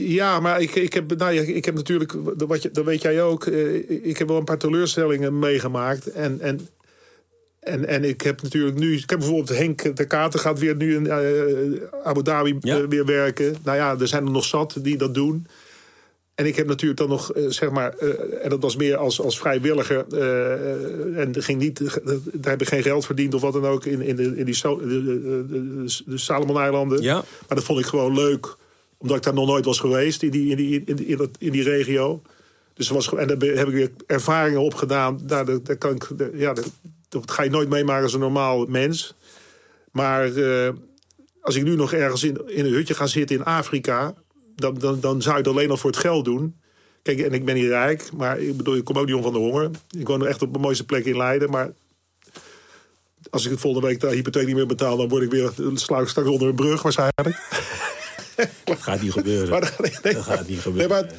I: Ja, maar ik, ik, heb, nou ja, ik heb natuurlijk, wat je, dat weet jij ook, eh, ik heb wel een paar teleurstellingen meegemaakt. En, en, en, en ik heb natuurlijk nu, ik heb bijvoorbeeld Henk de Kater gaat weer nu in eh, Abu Dhabi
H: Ja.
I: eh, weer werken. Nou ja, er zijn er nog zat die dat doen. En ik heb natuurlijk dan nog, eh, zeg maar, eh, en dat was meer als, als vrijwilliger. eh, eh, en er ging niet, eh, daar heb ik geen geld verdiend of wat dan ook in, in, de, in die Sal- de, de, de- de Salomon-eilanden.
H: Ja.
I: Maar dat vond ik gewoon leuk, omdat ik daar nog nooit was geweest in die, in die, in die, in dat, in die regio. Dus er was, ge- en daar ben- heb ik weer ervaringen opgedaan. Daar, daar, daar kan ik, daar- ja, daar- dat ga je nooit meemaken als een normaal mens. Maar eh, als ik nu nog ergens in, in een hutje ga zitten in Afrika, dan, dan, dan zou ik het alleen al voor het geld doen. Kijk, en ik ben niet rijk, maar ik bedoel, ik kom ook niet om van de honger. Ik woon echt op de mooiste plek in Leiden, maar als ik het volgende week de hypotheek niet meer betaal, dan word ik weer, dan sla ik straks onder een brug waarschijnlijk. [laughs]
H: Dat gaat niet gebeuren.
I: Maar dat, nee,
H: dat gaat niet
I: Nee,
H: gebeuren.
I: maar,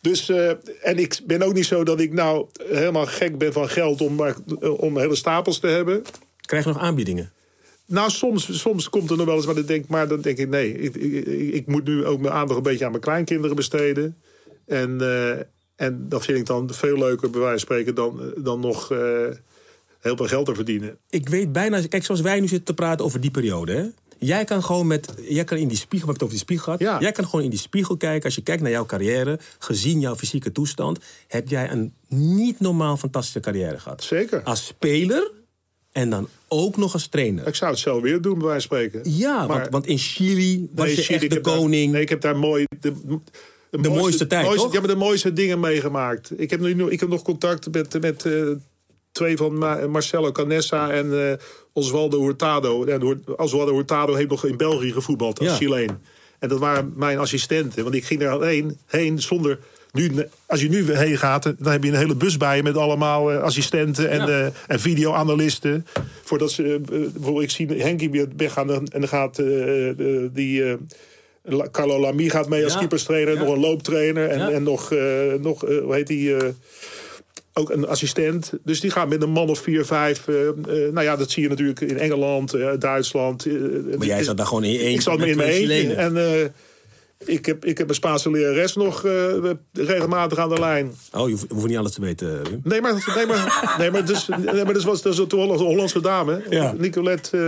I: dus, eh, en ik ben ook niet zo dat ik nou helemaal gek ben van geld om, maar, eh, om hele stapels te hebben.
H: Krijg je nog aanbiedingen?
I: Nou, soms, soms komt er nog wel eens, maar dan denk, maar dan denk ik, nee, ik, ik, ik- ik moet nu ook mijn aandacht een beetje aan mijn kleinkinderen besteden. En, eh, en dat vind ik dan veel leuker, bij wijze van spreken, dan, dan nog eh, heel veel geld te verdienen.
H: Ik weet bijna, kijk, zoals wij nu zitten te praten over die periode, hè? Jij kan gewoon met, jij kan in die spiegel, wat ik het over die spiegel had,
I: Ja.
H: jij kan gewoon in die spiegel kijken. Als je kijkt naar jouw carrière, gezien jouw fysieke toestand, heb jij een niet normaal fantastische carrière gehad.
I: Zeker.
H: Als speler en dan ook nog als trainer.
I: Ik zou het zo weer doen, bij wijze van spreken.
H: Ja, want, want in Chili was
I: Nee,
H: je
I: shit,
H: echt
I: ik
H: de
I: heb daar-
H: koning.
I: nee, ik heb daar mooi. De, de
H: mooiste tijd, toch?
I: Ja, maar de mooiste dingen meegemaakt. Ik heb, nu, ik heb nog contact met, met eh, twee van Ma- Marcelo Canessa en eh, Oswaldo Hurtado. En Hur- Oswaldo Hurtado heeft nog in België gevoetbald als
H: Ja.
I: Chileen. En dat waren mijn assistenten. Want ik ging daar alleen heen zonder... Nu, als je nu heen gaat, dan heb je een hele bus bij je... met allemaal eh, assistenten en,
H: Ja.
I: eh, en videoanalisten. Voordat ze... eh, bijvoorbeeld, ik zie Henkie weer weggaan en dan gaat eh, eh, die... eh, La- Carlo Lamy gaat mee als
H: Ja.
I: keeperstrainer.
H: Ja.
I: Nog een looptrainer. En,
H: Ja.
I: en nog, eh, nog eh, hoe heet die... eh, ook een assistent. Dus die gaan met een man of vier, vijf. eh, eh, nou ja, dat zie je natuurlijk in Engeland, eh, Duitsland. eh,
H: maar jij
I: eh,
H: zat daar gewoon in je eentje.
I: Ik zat me
H: met
I: in mijn
H: twee
I: eentje.
H: Chilenen.
I: En eh, ik, heb, ik heb een Spaanse lerares nog eh, regelmatig aan de lijn.
H: Oh, je hoeft, je hoeft niet alles te weten, eh, Wim.
I: Nee, maar, nee, maar, nee, maar, dus, nee, maar dus was, dat was de Hollandse, Hollandse dame.
H: Ja.
I: Nicolette,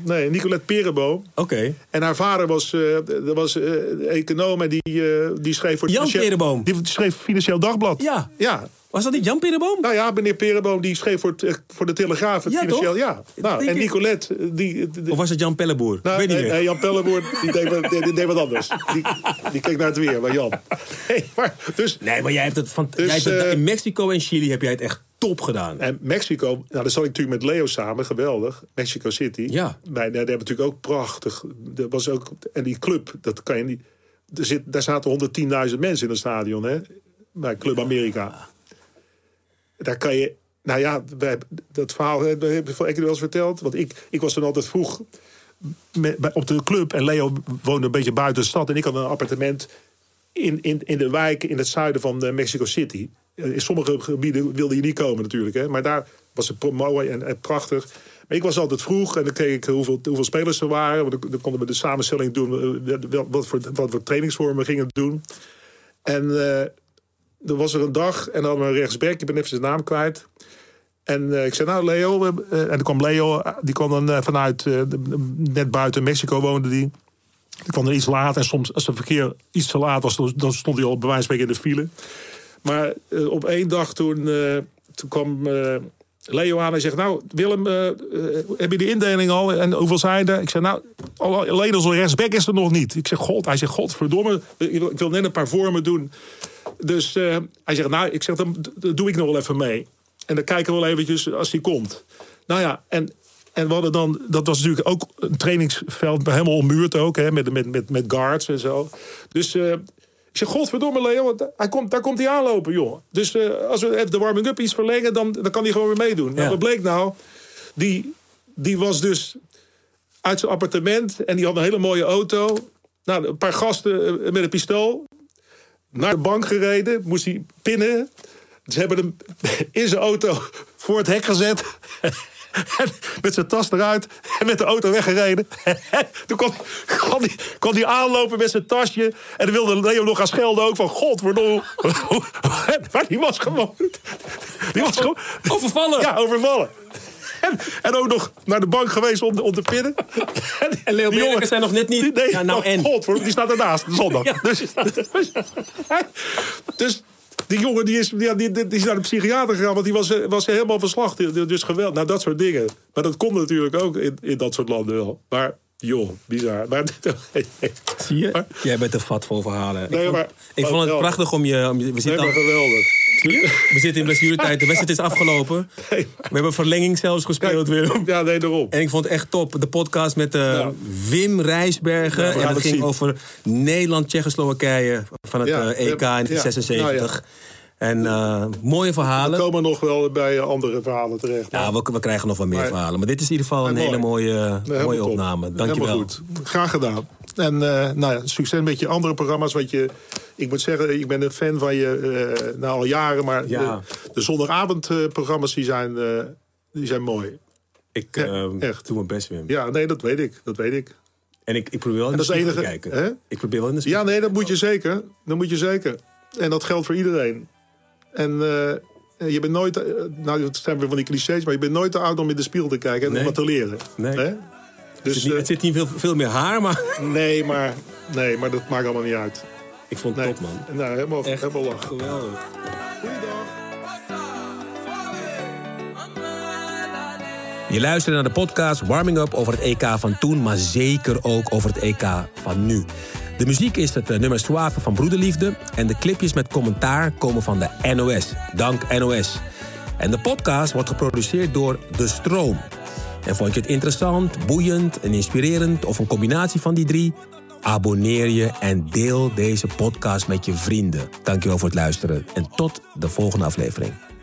I: eh, nee, Nicolette Perebo.
H: Oké.
I: En haar vader was, eh, dat was eh, econoom en die, eh, die schreef voor...
H: Jan
I: Financieel-
H: Pereboom.
I: Die schreef Financieel Dagblad.
H: Ja.
I: Ja,
H: Was dat niet Jan Perenboom?
I: nou ja, meneer Perenboom die schreef voor, het, eh, voor de Telegraaf. Het
H: Ja,
I: financieel,
H: toch?
I: ja.
H: Ik
I: Nou,
H: denk
I: en
H: het.
I: Nicolette, eh, die. die-
H: Of was het Jan Pelleboer?
I: nou,
H: Weet niet
I: eh,
H: meer.
I: eh, Jan Pellenboer, die deed, wat- die- die deed wat anders. Die, die keek naar het weer, maar Jan. Nee, maar, dus,
H: Nee, maar jij hebt het van.
I: Dus,
H: jij hebt het-
I: eh,
H: in Mexico en Chili heb jij het echt top gedaan.
I: en Mexico, nou, daar zat ik natuurlijk met Leo samen, geweldig. Mexico City.
H: Ja.
I: Wij, nou, daar hebben we natuurlijk ook prachtig. Dat was ook, en die club, dat kan je niet. Er zit, daar zaten 110.000 mensen in het stadion, hè? Bij Club Amerika. daar kan je. Nou ja, wij, dat verhaal eh, dat heb ik heb je wel eens verteld. Want ik, ik was toen altijd vroeg me- bij- op de club. En Leo woonde een beetje buiten de stad. En ik had een appartement in, in, in de wijk in het zuiden van eh, Mexico City. Eh, In sommige gebieden wilde je niet komen natuurlijk. Hè? Maar daar was het pro- mooi en, en prachtig. Maar ik was altijd vroeg en dan keek ik hoeveel, hoeveel spelers er waren. Want dan, dan konden we de samenstelling doen. eh, wel- Wat voor, wat voor trainingsvormen gingen we doen. En eh, er was er een dag en dan hadden we een rechtsback. Ik ben even zijn naam kwijt. En eh, ik zei, nou Leo... we- eh, en dan kwam Leo, eh, die kwam dan eh, vanuit... eh, de- de- net buiten Mexico woonde die. Die kwam er iets laat. En soms, als het verkeer iets te laat was... dan- dan stond hij al bij wijze van spreken in de file. Maar eh, op één dag toen, eh, toen kwam eh, Leo aan. Hij zegt, nou Willem, eh, eh, heb je de indeling al? En hoeveel zijn er? Ik zeg, nou, al- alleen als een rechtsback is er nog niet. Ik zeg, god. Hij zegt, godverdomme. Ik wil, ik wil net een paar vormen doen. Dus eh, hij zegt, nou, ik zeg, dan, dan doe ik nog wel even mee. En dan kijken we wel eventjes als die komt. Nou ja, en, en we hadden dan... Dat was natuurlijk ook een trainingsveld, helemaal ommuurd ook. Hè, met, met, met, met guards en zo. Dus... eh, ik zeg, godverdomme Leo, want hij komt, daar komt hij aanlopen, joh. Dus eh, als we even de warming-up iets verlengen, dan, dan kan hij gewoon weer meedoen. Nou,
H: Ja.
I: wat bleek nou? Die, die was dus uit zijn appartement en die had een hele mooie auto. Nou, een paar gasten eh, met een pistool naar de bank gereden, moest hij pinnen. Ze hebben hem in zijn auto voor het hek gezet. En met zijn tas eruit en met de auto weggereden. Toen kwam, kwam, die, kwam die aanlopen met zijn tasje. En dan wilde Leo nog gaan schelden ook. Van god, Maar die was gewoon... Die was gewoon
H: Overvallen.
I: ja, overvallen. En, en ook nog naar de bank geweest om, om te pinnen.
H: En Leo
I: die
H: Beenhakker
I: jongen-
H: zei nog net niet,
I: Nee,
H: ja, nou
I: oh,
H: en?
I: God, hoor, die staat ernaast, zondag.
H: Ja,
I: dus, [laughs] dus die jongen die is, die, die, die is naar de psychiater gegaan... want die was, eh, was helemaal verslag. Dus geweld, nou dat soort dingen. Maar dat komt natuurlijk ook in, in dat soort landen wel. Maar joh, bizar. Maar, [laughs]
H: Zie je? Jij bent er vat voor verhalen.
I: Nee,
H: ik vond,
I: maar-
H: ik vond het
I: wel.
H: prachtig om je... om je- we,
I: nee,
H: zitten
I: maar
H: al-
I: geweldig.
H: we zitten in blessuretijd. De wedstrijd is afgelopen.
I: Nee,
H: We hebben verlenging zelfs gespeeld, Willem.
I: Ja, nee, daarom.
H: En ik vond het echt top. De podcast met eh, Wim Rijsbergen.
I: Ja, we
H: en
I: gaan
H: dat
I: het
H: ging
I: zien.
H: over Nederland, Tsjechoslowakije van het
I: Ja,
H: eh, EK in
I: ja,
H: 1976. En eh, mooie
I: We
H: verhalen.
I: komen nog wel bij eh, andere verhalen terecht.
H: Ja, we, we krijgen nog wel meer
I: Maar-
H: verhalen. Maar dit is in ieder geval een
I: Maar
H: hele
I: mooi.
H: mooie,
I: Nee, helemaal
H: mooie
I: top.
H: opname.
I: Helemaal
H: Dankjewel.
I: goed. Graag gedaan. En eh, nou ja, succes met je andere programma's. Want je, ik moet zeggen, ik ben een fan van je eh, nou, al jaren. Maar
H: Ja.
I: de, de zondagavondprogramma's die zijn, eh, die zijn mooi.
H: Ik
I: Ja,
H: eh,
I: echt.
H: doe mijn best, Wim.
I: Ja, nee, dat weet ik. Dat weet ik.
H: En ik, ik probeer wel in de
I: En dat is
H: spiegel te
I: enige-
H: kijken.
I: hè?
H: Ik probeer wel in de spiegel.
I: Ja, nee, dat moet je zeker. Dat moet je zeker. En dat geldt voor iedereen. En eh, je bent nooit... eh, nou, dat zijn weer van die clichés. Maar je bent nooit te oud om in de spiegel te kijken en
H: Nee.
I: om wat te leren.
H: Nee.
I: Hè?
H: het,
I: Dus
H: zit niet,
I: eh,
H: het zit niet veel, veel meer haar, maar [laughs]
I: nee, maar, nee, maar dat maakt allemaal niet uit.
H: ik vond het
I: Nee,
H: top, man.
I: Nou, helemaal,
H: Echt
I: helemaal lachen.
H: geweldig. Je luistert naar de podcast Warming Up over het EK van toen, maar zeker ook over het EK van nu. De muziek is het eh, nummer Suave van Broederliefde en de clipjes met commentaar komen van de NOS. Dank NOS. En de podcast wordt geproduceerd door De Stroom. En vond je het interessant, boeiend en inspirerend of een combinatie van die drie? Abonneer je en deel deze podcast met je vrienden. Dankjewel voor het luisteren en tot de volgende aflevering.